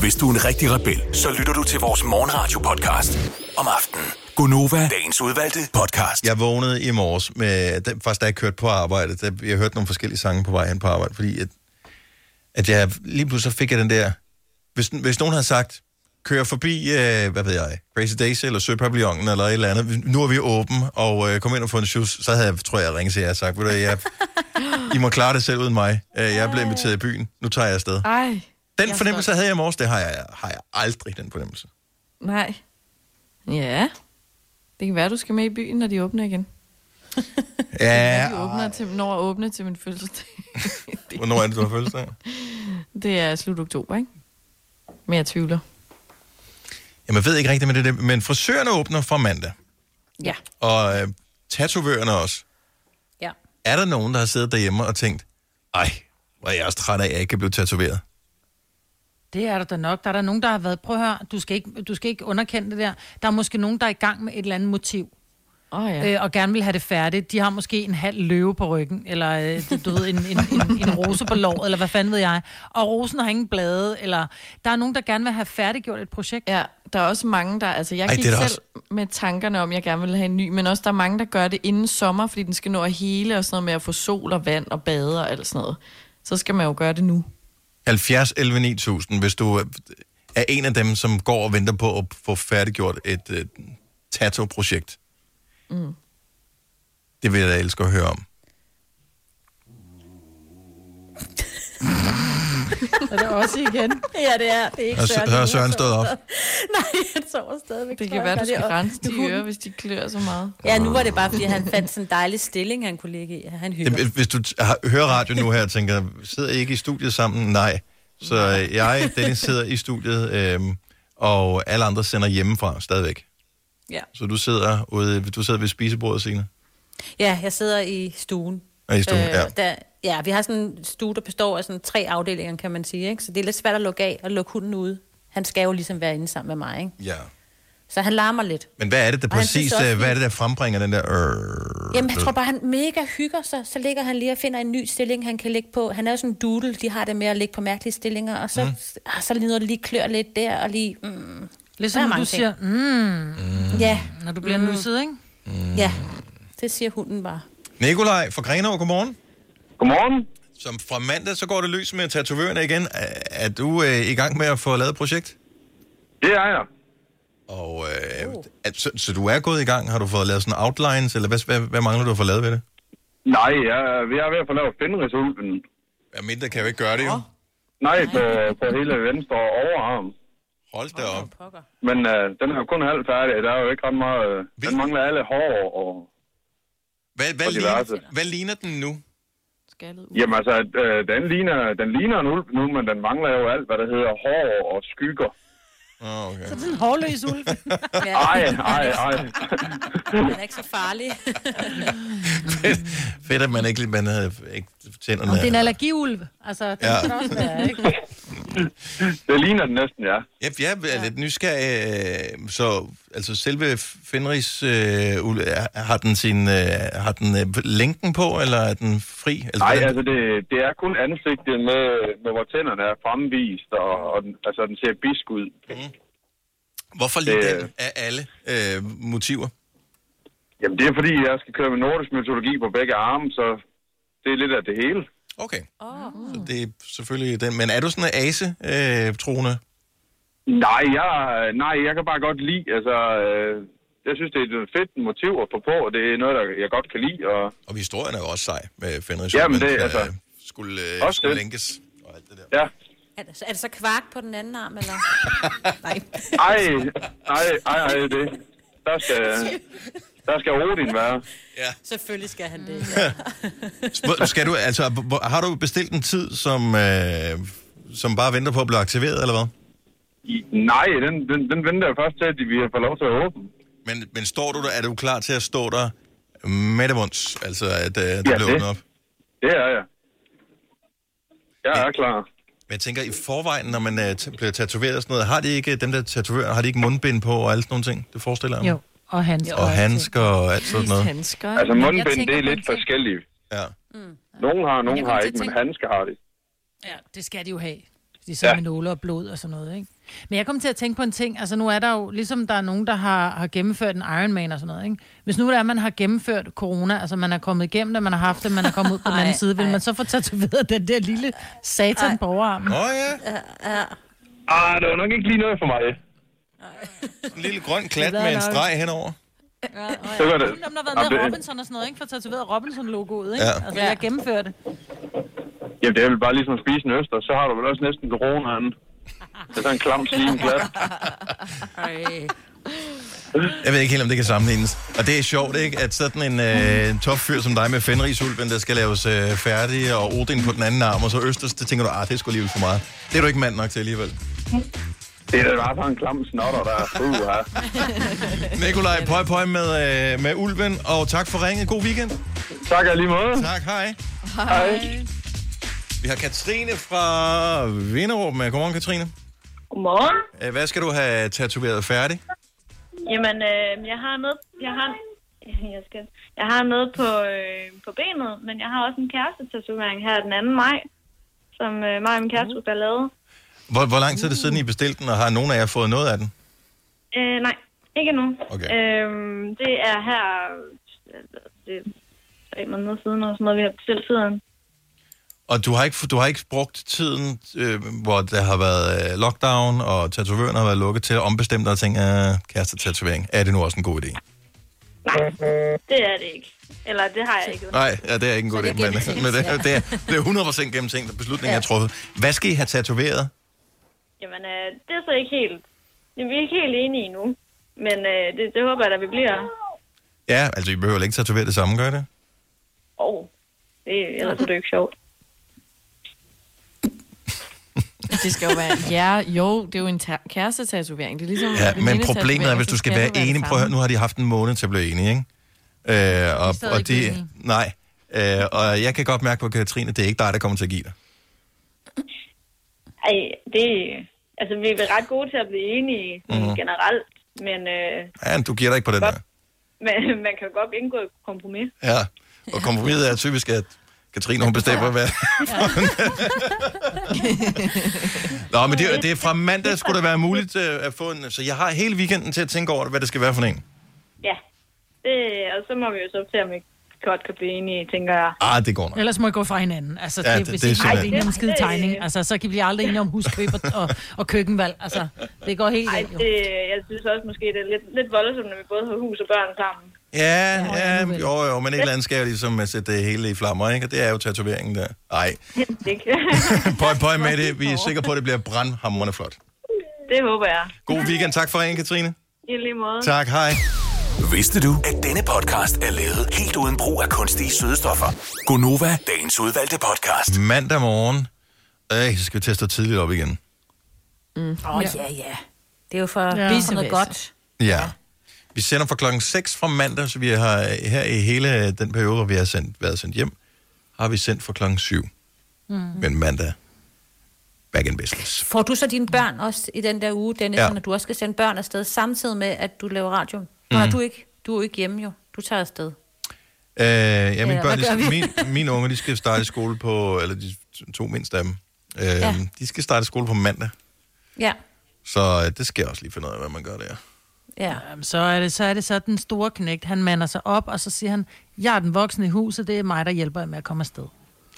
S5: Hvis du er en rigtig rebel, så lytter du til vores morgenradio-podcast om aftenen. Gunova, dagens udvalgte podcast.
S1: Jeg vågnede i morges, med, da- faktisk da jeg kørte på arbejde, da jeg hørte nogle forskellige sange på vej hen på arbejde, fordi at, at jeg lige pludselig så fik jeg den der, hvis, hvis nogen havde sagt, kør forbi, øh, hvad ved jeg, Crazy Daisy eller Søpavillonen eller et eller andet, nu er vi åben, og øh, kom ind og få en shoes, så havde jeg, tror jeg, ringet til jer og sagt, ved du, hvad, jeg, I må klare det selv uden mig, Øh, jeg blev inviteret i byen, nu tager jeg afsted.
S2: Ej. jeg er
S1: Den fornemmelse
S2: stolt.
S1: havde jeg i morges, det har jeg, har jeg aldrig, den fornemmelse.
S2: Nej. Ja. Det kan være, du skal med i byen, når de åbner igen.
S1: Ja,
S2: Ja, de åbner til, når at åbne til min fødselsdag.
S1: hvornår er det, du har fødselsdag?
S2: Det er slut oktober, ikke? Men jeg tvivler.
S1: Jamen, jeg ved ikke rigtigt med det, der, men frisørerne åbner fra mandag.
S4: Ja.
S1: Og øh, tatovørerne også.
S4: Ja.
S1: Er der nogen, der har siddet derhjemme og tænkt, ej, hvor er jeg også træt af, at jeg ikke kan blive tatoveret?
S3: Det er der da nok. Der er der nogen, der har været... Prøv at høre, du skal, ikke, du skal ikke underkende det der. Der er måske nogen, der er i gang med et eller andet motiv.
S2: Oh,
S3: ja. øh, og gerne vil have det færdigt. De har måske en halv løve på ryggen, eller øh, du ved, en, en, en, en rose på låret, eller hvad fanden ved jeg. Og rosen har ingen blade, eller der er nogen, der gerne vil have færdiggjort et projekt.
S2: Ja, der er også mange, der... Altså, jeg
S3: Ej,
S2: Ej,
S3: det
S2: gik
S3: er
S2: selv
S3: der
S2: også. med tankerne om, at jeg gerne ville have en ny, men også der er mange, der gør det inden sommer, fordi den skal nå at hele og sådan noget med at få sol og vand og bade og alt sådan noget. Så skal man jo gøre det nu.
S1: 70 11 9000, hvis du øh, er en af dem, som går og venter på at få færdiggjort et øh, tato-projekt.
S2: Mm.
S1: Det vil jeg da elske at høre om.
S3: Er det også igen?
S4: ja, det er. Det er ikke
S1: Og så-
S4: Søren.
S1: har
S4: Han sover
S1: Søren stået op?
S4: stadig. Nej, han sover stadigvæk.
S2: Det
S4: tror
S2: kan
S4: jeg.
S2: være, du
S4: Og det
S2: skal
S4: er-
S2: rense de
S4: Nu-
S2: ører, hvis de klør så meget.
S4: Ja, nu var det bare, fordi han fandt sådan en dejlig stilling, han kunne ligge i. Han hygger.
S1: Jamen, Hvis du t- har- hører radio nu her og tænker, sidder I ikke i studiet sammen? Nej. Så øh, jeg, Dennis, sidder i studiet, øhm, og alle andre sender hjemmefra stadigvæk.
S4: Ja.
S1: Så du sidder, ude, du sidder ved spisebordet, Signe?
S4: ja, jeg sidder i stuen. Øh,
S1: Ja, i stuen, ja.
S4: Der, ja, vi har sådan en stue, der består af sådan tre afdelinger, kan man sige. Ikke? Så det er lidt svært at lukke af og lukke hunden ude. Han skal jo ligesom være inde sammen med mig, ikke?
S1: Ja.
S4: Så han larmer lidt.
S1: Men hvad er det, der
S4: Og han synes
S1: præcis,
S4: også,
S1: øh, hvad er det, der frembringer den der... Øh,
S4: Jamen, jeg tror bare, han mega hygger sig. Så ligger han lige og finder en ny stilling, han kan ligge på. Han er jo sådan en doodle. De har det med at ligge på mærkelige stillinger. Og så,
S1: Mm.
S4: mm. ah, så lige noget, der lige klør lidt der, og lige... Mm,
S3: Ligesom
S4: Der
S3: når
S4: er mange
S3: du siger, mm,
S4: Ja.
S3: Når du bliver nusset, ikke?
S4: Mm. Ja, det siger hunden bare.
S1: Nikolaj fra Grenaa, godmorgen.
S12: Godmorgen.
S1: Som fra mandag, så går det løs med tatovørerne igen. Er, er du øh, i gang med at få lavet et projekt?
S12: Det er jeg.
S1: Og øh, er, så, så du er gået i gang? Har du fået lavet sådan outlines, eller hvad, hvad, hvad mangler du at få lavet ved det?
S12: Nej, jeg, er- jeg er ved at få lavet finderisulven.
S1: Ja, mindre kan jo ikke gøre det, jo.
S12: Nej, på, på hele venstre overarm.
S1: Hold da op.
S12: Men øh, den er jo kun halvt færdig. Der er jo ikke ret meget... Øh, den mangler alle hår og...
S1: Hvad, hvad,
S12: og diverse.
S1: ligner, hvad ligner den nu?
S12: Jamen altså, øh, den, ligner, den ligner en ulv nu, men den mangler jo alt, hvad der hedder hår og skygger.
S1: Oh, okay.
S3: Så er det en hårløs ulv.
S12: Ej, ej, ej.
S4: Han er ikke så farlig.
S1: Fedt, at man ikke, lige- man havde ikke tænderne.
S3: Om det er en allergiulv. Altså, det
S1: Ja.
S3: ja. kan også være, ikke?
S12: Det ligner den næsten, ja.
S1: Ja, jeg er lidt nysgerrig. øh, Så altså selve Fenris, øh, ul- er- har den, sin, øh, har den øh, lænken på, eller er den fri? Altså,
S12: Nej,
S1: hvordan-
S12: altså det, det er kun ansigtet med, med hvor tænderne er fremvist, og, og den, altså den ser bisk ud. Mm.
S1: Mhm. Hvorfor lige
S12: det-
S1: den af alle øh, motiver?
S12: Jamen det er fordi, jeg skal køre med nordisk mytologi på begge arme, så det er lidt af det hele.
S1: Okay. Så det er selvfølgelig den. Men er du sådan en ase, øh, troende?
S12: Nej, jeg, nej, jeg kan bare godt lide, altså... Øh, jeg synes, det er et fedt motiv at få på, og det er noget, der jeg godt kan lide. Og,
S1: Og historien er jo også sej med Fenris.
S12: Jamen, det
S1: men,
S12: er altså...
S1: øh, Skulle, øh,
S12: også
S1: skulle
S12: det.
S1: lænkes.
S12: Ja.
S4: Er det, er det så kvark på den anden arm, eller?
S12: Ej, ej, ej, ej, det. Der skal, der skal Odin være.
S4: Selvfølgelig skal han det. Ja.
S1: Hvor- Skal du, altså, hvor- har du bestilt en tid, som, øh, som bare venter på at blive aktiveret, eller hvad?
S12: Nej, den, den, den venter jeg først til, at vi har fået lov til at åbne.
S1: Men, men står du der, er du klar til at stå der med det vunds, altså at øh, det
S12: Ja,
S1: bliver
S12: det.
S1: åbnet op?
S12: Det er jeg. Jeg er klar.
S1: Men jeg tænker, i forvejen, når man øh, t- bliver tatoveret og sådan noget, har de ikke, dem der tatoverer, har de ikke mundbind på og alle sådan nogle ting? Det forestiller jeg mig.
S3: Jo, og hans.
S1: Og handsker og alt sådan noget.
S2: Handsker.
S12: Altså mundbind, det er lidt forskelligt.
S1: Ja.
S12: Nogen har,
S3: Men jeg
S12: nogen
S3: kom
S12: har
S3: til at
S12: ikke, men
S3: tænke-
S12: handsker har det.
S3: Ja, det skal de jo have. Fordi så er
S12: Ja.
S3: ja. med nåle og blod og sådan noget, ikke? Men jeg kom til at tænke på en ting. Altså nu er der jo, ligesom der er nogen, der har, har gennemført en Ironman og sådan noget, ikke? Hvis nu der er, man har gennemført corona, altså man er kommet igennem det, man har haft det, man er kommet ud på den anden
S4: Ej,
S3: side, vil man så få tatoveret den der lille satan på overarmen?
S1: Åh oh, ja,
S4: ja.
S12: Ah, det var nok ikke lige noget for mig.
S1: en lille grøn klat
S3: Det er
S1: med en
S3: nok.
S1: streg henover.
S12: Så var
S3: Dem, der har
S12: det. Jamen,
S3: været med
S12: det-
S3: Robinson og sådan noget, ikke? For tatoveret Robinson-logoet, ikke?
S12: Ja.
S3: Ja. Altså, jeg gennemfører det.
S12: Jamen, det er vel bare ligesom at spise en øster, så har du vel også næsten coronaen. Det er sådan en klam slim glat.
S16: Ah.
S1: Jeg ved ikke helt, om det kan sammenlignes. Og det er sjovt, ikke? At sådan en øh, topfyr som dig med Fenrisulven, der skal laves øh, færdig, og Odin på den anden arm, og så Østers, det tænker du, ah, det skulle lige for meget. Det er du ikke mand nok til alligevel.
S12: Det er da bare sådan en klam snotter, der er uh, ja.
S1: Nikolaj, pøj pøj med, øh, med Ulven, og tak for ringet. God weekend.
S12: Tak og lige måde.
S1: Tak, hej. Vi har Katrine fra Vinderup med. Godmorgen, Katrine.
S17: Godmorgen.
S1: Øh, Hvad skal du have tatoveret færdig?
S17: Jamen, øh, jeg har noget... Jeg har, jeg, skal, jeg har noget på, øh, på benet, men jeg har også en kærestetatovering her den 2. maj, som øh, mig og min kæreste skulle have lavet.
S1: Hvor, hvor lang tid er det siden, I bestilte den, og har nogen af jer fået noget af den?
S17: Øh, nej, ikke endnu.
S1: Okay.
S17: Øhm, det er her... altså, Det er tre måneder siden, og sådan noget, vi har bestilt tiden.
S1: Og du har ikke, du har ikke brugt tiden, øh, hvor der har været øh, lockdown, og tatovøren har været lukket til at ombestemme dig og tænke, øh, kæreste tatovering, er det nu også en god idé?
S17: Nej, det er det ikke. Eller det har jeg ikke.
S1: Nej, ja, det er ikke en god idé, men, men det, er- det, er, det er 100% gennemtænkt, og beslutningen ja. er truffet. Hvad skal I have tatoveret?
S17: Jamen, øh, det er så ikke helt... Jamen, vi er ikke helt enige endnu. Men øh, det, det håber jeg da, vi bliver.
S1: Ja, altså I behøver ikke tatovere det samme, gør I
S17: Åh,
S1: det?
S17: oh, det, ellers er det jo ikke sjovt.
S2: Det skal jo være, ja, jo, det er jo en ta- kærestetatovering. Det er ligesom
S1: Ja,
S2: en
S1: men problemet er,
S2: venindetatovering,
S1: hvis du
S2: så
S1: skal være
S2: det være det
S1: enig, prøv at høre, nu har de haft en måned til at blive enige, ikke? Øh, og,
S2: stadig
S1: og
S2: ikke blevet enige.
S1: de, nej, øh, og jeg kan godt mærke på Katrine, det er ikke dig, der kommer til at give dig.
S17: Ej, det... Altså, vi er ret gode til at blive enige
S1: Mhm.
S17: mm. generelt, men, øh,
S1: Ja, du giver dig ikke på den der.
S17: men man kan jo godt indgå et kompromis.
S1: Ja, og kompromiset er typisk, at Katrine, hun bestemmer, hvad... Nå, men det, det er fra mandag, skulle det være muligt øh, at få en... Så jeg har hele weekenden til at tænke over, hvad det skal være for en.
S17: Ja, det, og så må vi jo så se, om vi godt kan blive enige, tænker jeg.
S1: Ah, det går nok.
S3: Ellers må I gå fra hinanden. Altså,
S1: Ja,
S3: ja,
S1: det-
S3: det, hvis I
S1: det er
S3: ikke er
S1: simpelthen-
S3: enige om en skide tegning, altså, så kan vi aldrig enige om huskøb og, og, og køkkenvalg. Altså, det går helt
S17: Ej,
S3: galt, jo.
S17: det, jeg synes også måske, det er lidt, lidt voldsomt, når vi både har hus og børn sammen.
S1: Ja, ja, jo, jo, men et eller andet skal jo ligesom øh, sætte det hele i flammer, ikke? Og det er jo tatoveringen der. Nej,
S17: Ikke?
S1: pøj, pøj med det. Vi er sikre på, at det bliver brandhamrende flot.
S17: det håber jeg.
S1: God weekend. Tak for en, Katrine.
S17: I lige måde.
S1: Tak, hej.
S5: Vidste du, at denne podcast er lavet helt uden brug af kunstige sødestoffer?
S1: Gonova,
S5: Dagens udvalgte podcast.
S1: mandag morgen. Øh, så skal vi til at stå tidligt op igen.
S4: Åh, oh, ja, ja. Det er jo for, ja. for Bissevæsen. noget godt.
S1: Ja. Vi sender fra klokken 6 fra mandag, så vi har her i hele den periode, hvor vi har sendt, været sendt hjem, har vi sendt fra klokken 7.
S4: Mm.
S1: Men mandag, back in business.
S4: Får du så dine børn også i den der uge, Dennis,
S1: Ja.
S4: ja. når du også skal sende børn afsted, samtidig med, at du laver radio? Mm. Nej, du er ikke. Du er jo ikke hjemme jo. Du tager afsted.
S1: Øh, ja, mine,
S4: Ja,
S1: børn,
S4: hvad
S1: de,
S4: gør
S1: skal-
S4: vi?
S1: min, mine unger, de skal starte i skole på, eller de to mindste af dem, øh, ja. de skal starte i skole på mandag.
S4: Ja.
S1: Så øh, det skal jeg også lige finde ud af, hvad man gør der.
S4: Ja.
S3: Jamen, så er, det, så er det så den store knægt. Han mander sig op, og så siger han, jeg er den voksne i huset, det er mig, der hjælper jer med at komme afsted.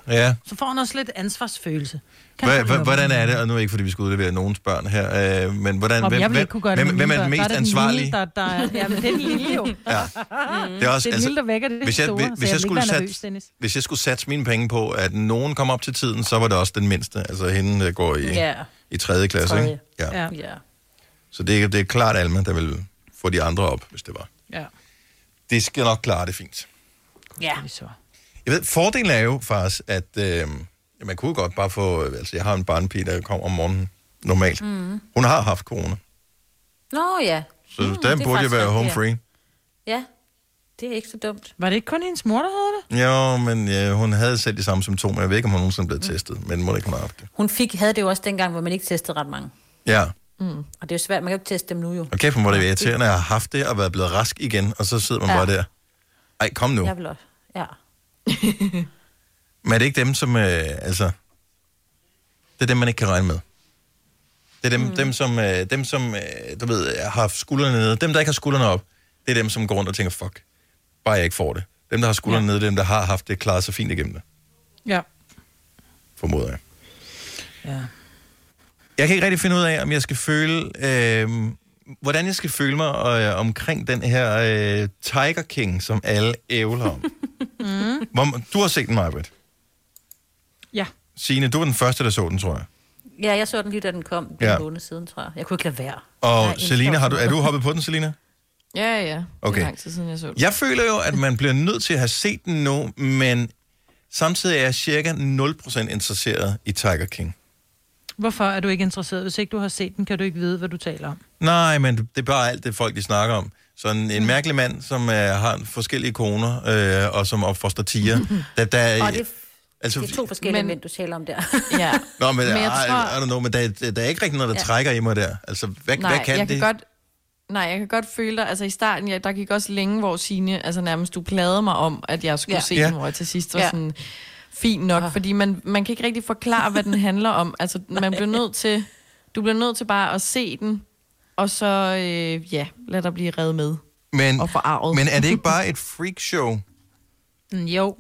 S1: Ja.
S3: Så får han også lidt ansvarsfølelse. Kan
S1: Hva,
S3: han
S1: hva,
S3: lukke
S1: hvordan
S3: den?
S1: er det, og nu er det ikke, fordi vi skal udlevere nogens børn her, øh, men hvordan,
S3: Om jeg
S1: hvem,
S3: vil
S1: hvem,
S3: ikke kunne gøre det
S1: hvem,
S3: med
S1: hvem
S3: mine børn. Der
S1: er den mest
S3: den
S1: ansvarlige?
S3: Lille, der, der, er- jamen, det er den lille jo.
S1: Ja.
S3: Mm.
S1: Det er, også,
S3: det er den lille, der vækker det
S1: hvis jeg,
S3: store.
S1: hvis,
S3: så
S1: hvis, jeg
S3: vil ikke
S1: skulle
S3: være
S1: sat,
S3: nervøs, Dennis.
S1: hvis jeg skulle satse mine penge på, at nogen kom op til tiden, så var det også den mindste. Altså hende, der går i,
S4: Ja.
S1: i 3. klasse.
S4: Tredje.
S1: Ikke? Ja.
S4: Ja. ja.
S1: Så det, er- det er klart Alma, der vil få de andre op, hvis det var.
S3: Ja.
S1: Det skal nok klare det fint.
S4: Ja.
S1: Jeg ved, fordelen er jo faktisk, at øh, man kunne godt bare få... Altså, jeg har en barnepige, der kommer om morgenen normalt. Mm.
S4: Mm.
S1: Hun har haft corona,
S4: Nå ja.
S1: så
S4: Mm,
S1: mm,
S4: det er
S1: den burde jo
S4: faktisk
S1: være home
S4: rigtigt,
S1: free.
S4: Ja. Det er ikke så dumt.
S3: Var det ikke kun hendes mor, der havde det?
S1: Jo, men øh, hun havde selv de samme symptomer. Jeg ved ikke, om hun nogensinde
S4: Mm.
S1: blev testet, men må ikke hun har haft det.
S4: Hun fik, havde det jo også dengang, hvor man ikke testede ret mange.
S1: Ja.
S4: Mm. Og det er jo svært, man kan jo ikke teste dem nu jo.
S1: Og kæft, hvor må det være irriterende at have haft det og været blevet rask igen, og så sidder man
S4: Ja.
S1: ja. bare der. Ej, kom nu.
S4: Jeg vil også. Ja.
S1: Men er det ikke dem, som... Øh, altså, det er dem, man ikke kan regne med. Det er dem, mm. dem som, øh, dem, som øh, du ved, har haft skuldrene nede. Dem, der ikke har skuldrene op, det er dem, som går rundt og tænker, fuck, bare jeg ikke får det. Dem, der har skuldrene ja. nede, dem, der har haft det, klarer sig fint igennem det,
S3: Ja.
S1: formoder jeg.
S3: ja.
S1: Jeg kan ikke rigtig finde ud af, om jeg skal føle... Øh, hvordan jeg skal føle mig øh, omkring den her øh, Tiger King, som alle ævler om.
S3: Mm.
S1: Hvor, du har set den, Marbet.
S3: Ja.
S1: Signe, du var den første, der så den, tror jeg.
S4: Ja, jeg så den lige, da den kom for
S1: Ja.
S4: en måned siden, tror jeg. Jeg kunne ikke lade være.
S1: Og
S4: Jeg
S1: ja,
S4: elsker
S1: Selina, har du,
S4: sådan
S1: er du
S4: noget.
S1: hoppet på den, Selina?
S2: Ja, ja. Det
S1: Okay.
S2: er lang tid siden, jeg så det.
S1: Jeg føler jo, at man bliver nødt til at have set den nu, men samtidig er jeg cirka 0% interesseret i Tiger King.
S3: Hvorfor er du ikke interesseret? Hvis ikke du har set den, kan du ikke vide, hvad du taler om.
S1: Nej, men det er bare alt det, folk de snakker om. Så en,
S4: Mm.
S1: en mærkelig mand, som øh, har forskellige koner, øh, og som opfoster tiger. øh, Der, der, er-
S4: Og det, altså, det er to forskellige
S2: Men-
S4: mænd, du taler om der.
S2: Ja.
S1: Nå, men,
S2: Men jeg
S1: men jeg
S2: tror-
S1: I, I don't know, men der, der, der er ikke rigtig noget, der
S2: Ja.
S1: ja. trækker i mig der. Altså, hvad,
S2: Nej,
S1: hvad kan
S2: jeg
S1: det?
S2: Kan godt, nej, jeg kan godt føle dig, altså i starten, ja, der gik også længe, hvor Signe, altså nærmest du plagede mig om, at jeg skulle
S4: Ja.
S2: ja. se
S4: Ja.
S2: den, hvor jeg til sidst var
S4: Ja. Ah.
S2: ja. sådan, fint nok, ja. fordi man, man kan ikke rigtig forklare, hvad den handler om. Altså, man bliver nødt til, du bliver nødt til bare at se den, og så, øh, ja, lad dig blive reddet med.
S1: Men,
S2: og forarvet.
S1: men er det ikke bare et freakshow?
S3: Mm, Jo,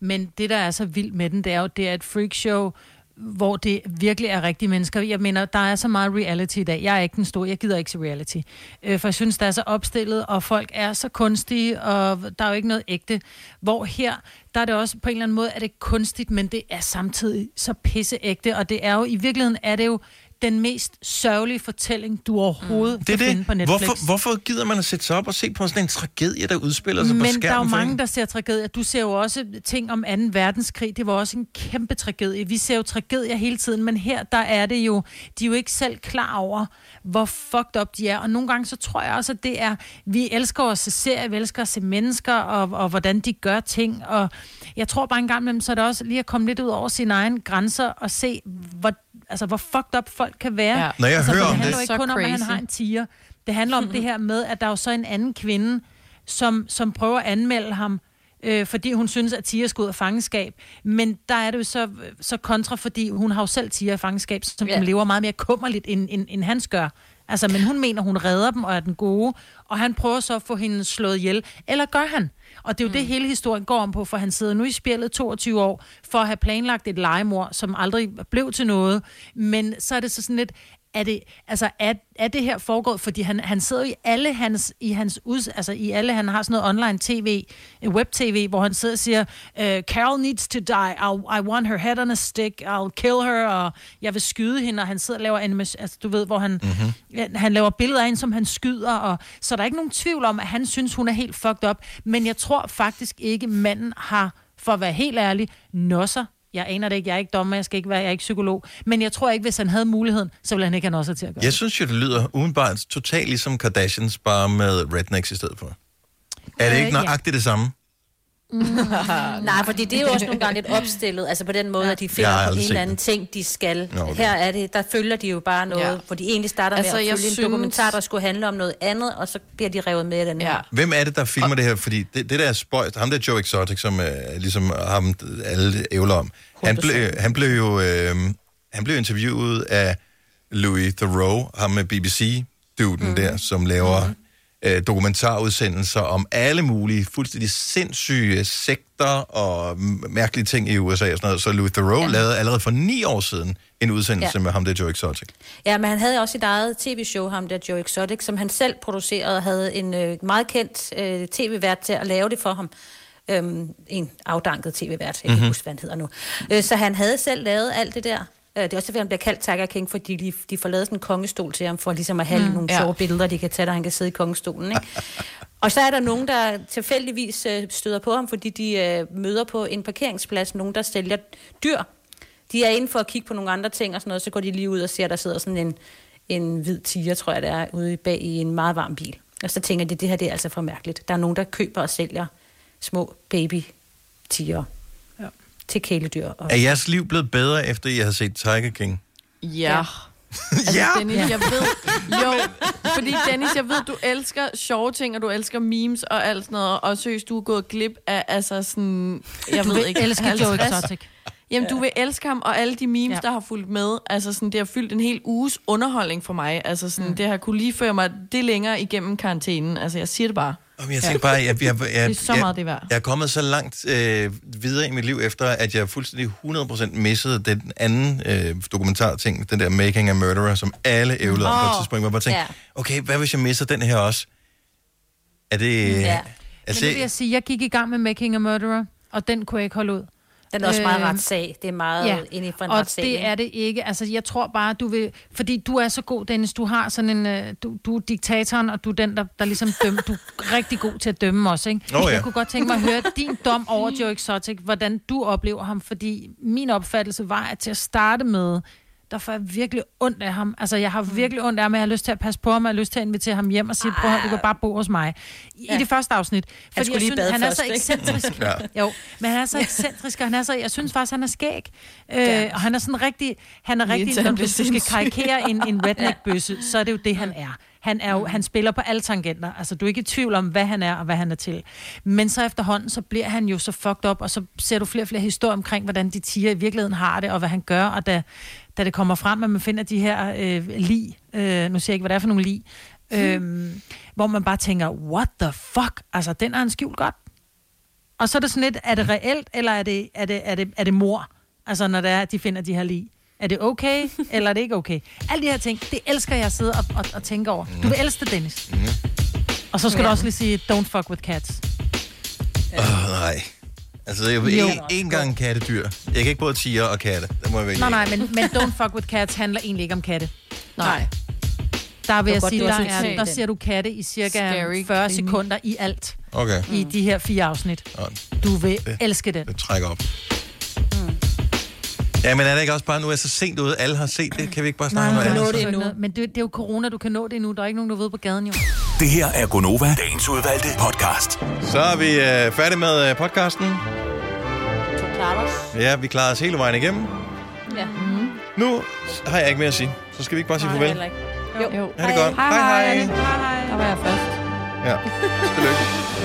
S3: men det, der er så vildt med den, det er jo, det er et freakshow hvor det virkelig er rigtige mennesker. Jeg mener, der er så meget reality i dag. Jeg er ikke den store, jeg gider ikke se reality. Øh, for jeg synes, der er så opstillet, og folk er så kunstige, og der er jo ikke noget ægte. Hvor her, der er det også på en eller anden måde, at det er kunstigt, men det er samtidig så pisseægte, og det er jo, i virkeligheden er det jo den mest sørgelige fortælling, du overhovedet mm.
S1: Det
S3: kan
S1: er
S3: finde på
S1: det.
S3: Netflix.
S1: Hvorfor, hvorfor gider man at sætte sig op og se på sådan en tragedie, der udspiller sig på skærmen?
S3: Men der er jo
S1: for
S3: mange,
S1: en?
S3: der ser tragedier. Du ser jo også ting om 2. verdenskrig. Det var også en kæmpe tragedie. Vi ser jo tragedier hele tiden, men her der er det jo, de er jo ikke selv klar over, hvor fucked up de er. Og nogle gange så tror jeg også, at det er, vi elsker at se serier, vi elsker at se mennesker, og, og hvordan de gør ting. Og jeg tror bare en gang imellem, så er det også lige at komme lidt ud over sine egne grænser og se, hvor, altså, hvor fucked up folk kan være.
S1: Ja. Når jeg
S3: altså, for
S1: hører om
S3: det handler
S1: det-
S3: jo ikke
S1: Så
S3: kun om, at han
S1: crazy.
S3: har en tiger. Det handler om det her med, at der er jo så en anden kvinde, som, som prøver at anmelde ham, øh, fordi hun synes, at Tia skulle ud af fangenskab. Men der er det jo så, så kontra, fordi hun har jo selv Tia i fangenskab, som
S9: Ja.
S3: yeah. lever meget mere kummerligt, end, end, end hans gør. Altså, men hun mener, hun redder dem og er den gode, og han prøver så at få hende slået ihjel. Eller gør han? Og det er jo mm. det, hele historien går om på, for han sidder nu i spjældet 22 år, for at have planlagt et legemord, som aldrig blev til noget. Men så er det så sådan lidt, er det, altså, er, er det her foregået? Fordi han, han sidder jo i alle hans, i hans ud, altså i alle, han har sådan noget online tv, øh, web-tv, hvor han sidder og siger, øh, Carol needs to die, I'll, I want her head on a stick, I'll kill her, og jeg vil skyde hende, og han sidder og laver animation, altså du ved, hvor han, mm-hmm. Ja, han laver billeder af hende, som han skyder, og, så der er ikke nogen tvivl om, at han synes, hun er helt fucked up. Men jeg tror faktisk ikke, manden har, for at være helt ærlig, nosser. Jeg aner det ikke, jeg er ikke dommer, jeg skal ikke være, jeg er ikke psykolog. Men jeg tror ikke, hvis han havde muligheden, så ville han ikke have nosser til at gøre
S1: Jeg synes jo, det lyder udenbart totalt ligesom Kardashians, bare med rednecks i stedet for. Er det
S4: Øh,
S1: ikke
S4: ja.
S1: nøjagtigt det samme?
S4: Mm. Nej, fordi det er jo også nogle gange lidt opstillet, altså på den måde, at de
S1: Jeg har
S4: finder på en
S1: aldrig set
S4: eller anden
S1: det.
S4: ting, de skal.
S1: Nå, okay.
S4: Her er det, der følger de jo bare noget,
S2: Ja.
S4: ja. hvor de egentlig starter altså,
S2: Altså,
S4: med at
S2: jeg
S4: følge synes... en
S2: synes-
S4: dokumentar, der skulle handle om noget andet, og så bliver de revet med i den her. Ja.
S1: Hvem er det, der filmer det her? Fordi det, det der er spøjst, ham der Joe Exotic, som øh, ligesom ham alle ævler om, han blev, han blev jo øh, han blev interviewet af Louis Theroux, ham med BBC-duden mm. der, som laver øh, dokumentarudsendelser om alle mulige fuldstændig sindssyge sekter og m- mærkelige ting i USA og sådan noget. Så Louis Theroux ja. lavede allerede for ni år siden en udsendelse ja.
S4: Ja.
S1: med ham der Joe Exotic.
S4: ja, men han havde også sit eget tv-show, ham der Joe Exotic, som han selv producerede og havde en øh, meget kendt øh, tv-vært til at lave det for ham. Øhm, en afdanket tv-vært, jeg kan
S18: Mhm.
S4: ikke huske, hvad han hedder nu. Øh, så han havde selv lavet alt det der. Øh, det er også derfor, han bliver kaldt Tiger King, fordi de, de får lavet sådan en kongestol til ham, for ligesom at have
S18: Mm,
S4: mm, nogle
S18: ja.
S4: ja. sjove billeder, de kan tage, der han kan sidde i kongestolen. Ikke? Og så er der nogen, der tilfældigvis øh, støder på ham, fordi de øh, møder på en parkeringsplads nogen, der sælger dyr. De er inde for at kigge på nogle andre ting og sådan noget, så går de lige ud og ser, at der sidder sådan en, en hvid tiger, tror jeg det er, ude bag i en meget varm bil. Og så tænker de, det her det er altså for mærkeligt. Der er nogen, der køber og sælger små baby tiger ja. til kæledyr. Og...
S1: Er jeres liv blevet bedre, efter I har set Tiger King?
S2: Ja. Altså, ja. Dennis, jeg ved... Jo, fordi Dennis, jeg ved, du elsker sjove ting, og du elsker memes og alt sådan noget, og søs, du er gået glip af, altså sådan... Jeg
S3: Du
S2: ved
S3: vil
S2: ikke,
S3: elske Joe
S2: 50.
S3: Exotic.
S2: Jamen, du vil elske ham, og alle de memes, ja. der har fulgt med. Altså, sådan, det har fyldt en hel uges underholdning for mig. Altså, sådan, mm. det har kunne lige føre mig det længere igennem karantænen. Altså, jeg siger det bare.
S1: Jamen, jeg tænker bare, jeg, jeg, jeg, jeg,
S2: Det er så meget, det er værd.
S1: jeg er kommet så langt øh, videre i mit liv efter, at jeg fuldstændig 100% missede den anden øh, dokumentarting, den der Making a Murderer, som alle ævlede om på et
S3: Åh,
S1: tidspunkt. Hvor jeg bare tænkte,
S3: ja.
S1: okay, hvad hvis jeg misser den her også? Er det...
S3: Ja.
S1: Ja.
S3: Men
S1: Altså,
S3: det vil jeg sige, jeg gik i gang med Making a Murderer, og den kunne jeg ikke holde ud.
S4: Den er også meget
S3: Øh,
S4: retssag. Det er meget ja. inde for en
S3: og
S4: retssag.
S3: det
S4: ikke?
S3: er det ikke. Altså, jeg tror bare, du vil... Fordi du er så god, Dennis. Du har sådan en... øh, Du, du er diktatoren, og du er den, der, der ligesom dømmer. Du er rigtig god til at dømme også, ikke?
S18: Nå ja.
S3: Jeg kunne godt tænke mig at høre din dom over Joe Exotic. Hvordan du oplever ham. Fordi min opfattelse var, at til at starte med, der får jeg virkelig ondt af ham. Altså, jeg har
S18: Mm.
S3: virkelig ondt af ham, og jeg har lyst til at passe på ham, og jeg har lyst til at invitere ham hjem og sige, prøv at høre, du kan bare bo hos mig. I
S18: Ah. Ja.
S3: det første afsnit. Fordi
S18: skulle lige
S3: jeg synes,
S18: bade
S3: han er
S18: først,
S3: så
S18: ikke?
S3: ekscentrisk.
S18: Ja.
S3: Jo, men han er så ekscentrisk, og han er så, Altså, jeg synes faktisk, han er skæg. Øh,
S18: Ja.
S3: Og han er sådan rigtig, han er
S18: Lige
S3: rigtig,
S18: indtil
S3: når
S18: han
S3: du
S18: bliver
S3: hvis du skal
S18: sindssyg.
S3: karikere en, en redneck-bøsse, så er det jo det, han er. Han, er jo,
S18: Mm.
S3: han spiller på alle tangenter. Altså, du er ikke i tvivl om, hvad han er og hvad han er til. Men så efterhånden, så bliver han jo så fucked op, og så ser du flere og flere historier omkring, hvordan de tiger i virkeligheden har det, og hvad han gør. Og da, da det kommer frem, at man finder de her øh, lig, øh, nu siger jeg ikke, hvad det er for nogle lig,
S18: Mhm.
S3: øh, hvor man bare tænker, what the fuck? Altså, den er han skjult godt. Og så er det sådan lidt, er det reelt, eller er det, er det, er det, er det mor? Altså, når det er, at de finder de her lige. Er det okay, eller er det ikke okay? Alle de her ting, det elsker jeg at sidde og, og, og tænke over. Du
S2: Mhm.
S3: vil elske det, Dennis.
S1: Mm.
S3: Og så skal ja. du
S1: Ja.
S3: også lige sige, don't fuck with cats.
S1: Åh, nej. Altså, jeg
S3: Jo.
S1: en, en gang kattedyr. Jeg kan ikke både tiger og katte. Det må jeg vælge.
S3: Nej, nej, men, men don't fuck with cats handler egentlig ikke om katte.
S2: Nej.
S3: Der vil
S2: Det var
S3: jeg
S2: godt,
S3: sige,
S2: du
S3: der,
S2: også
S3: er,
S2: sagde
S3: der
S2: den.
S3: siger du katte i cirka
S2: Scary
S3: 40
S2: krimi. Mm.
S3: sekunder i alt.
S1: Okay.
S3: I de her fire afsnit. Du vil elske den.
S1: Det trækker op.
S3: Mm.
S1: Ja, men er det ikke også bare nu, er jeg så sent ude, alle har set det, kan vi ikke bare snakke om noget andet?
S3: endnu. Men det, det er jo corona, du kan nå det endnu. Der er ikke nogen, der ved på gaden jo.
S5: Det her er Gonova, dagens udvalgte podcast.
S1: Så er vi øh, færdige med øh, podcasten.
S4: Klarer
S1: Ja, vi klarede os hele vejen igennem.
S4: Ja.
S1: Nu har jeg ikke mere at sige. Så skal vi ikke bare sige farvel.
S4: Jo. jo.
S1: Ha' det godt. Hej, hej.
S2: hej. Der var jeg først.
S1: Ja, tillykke.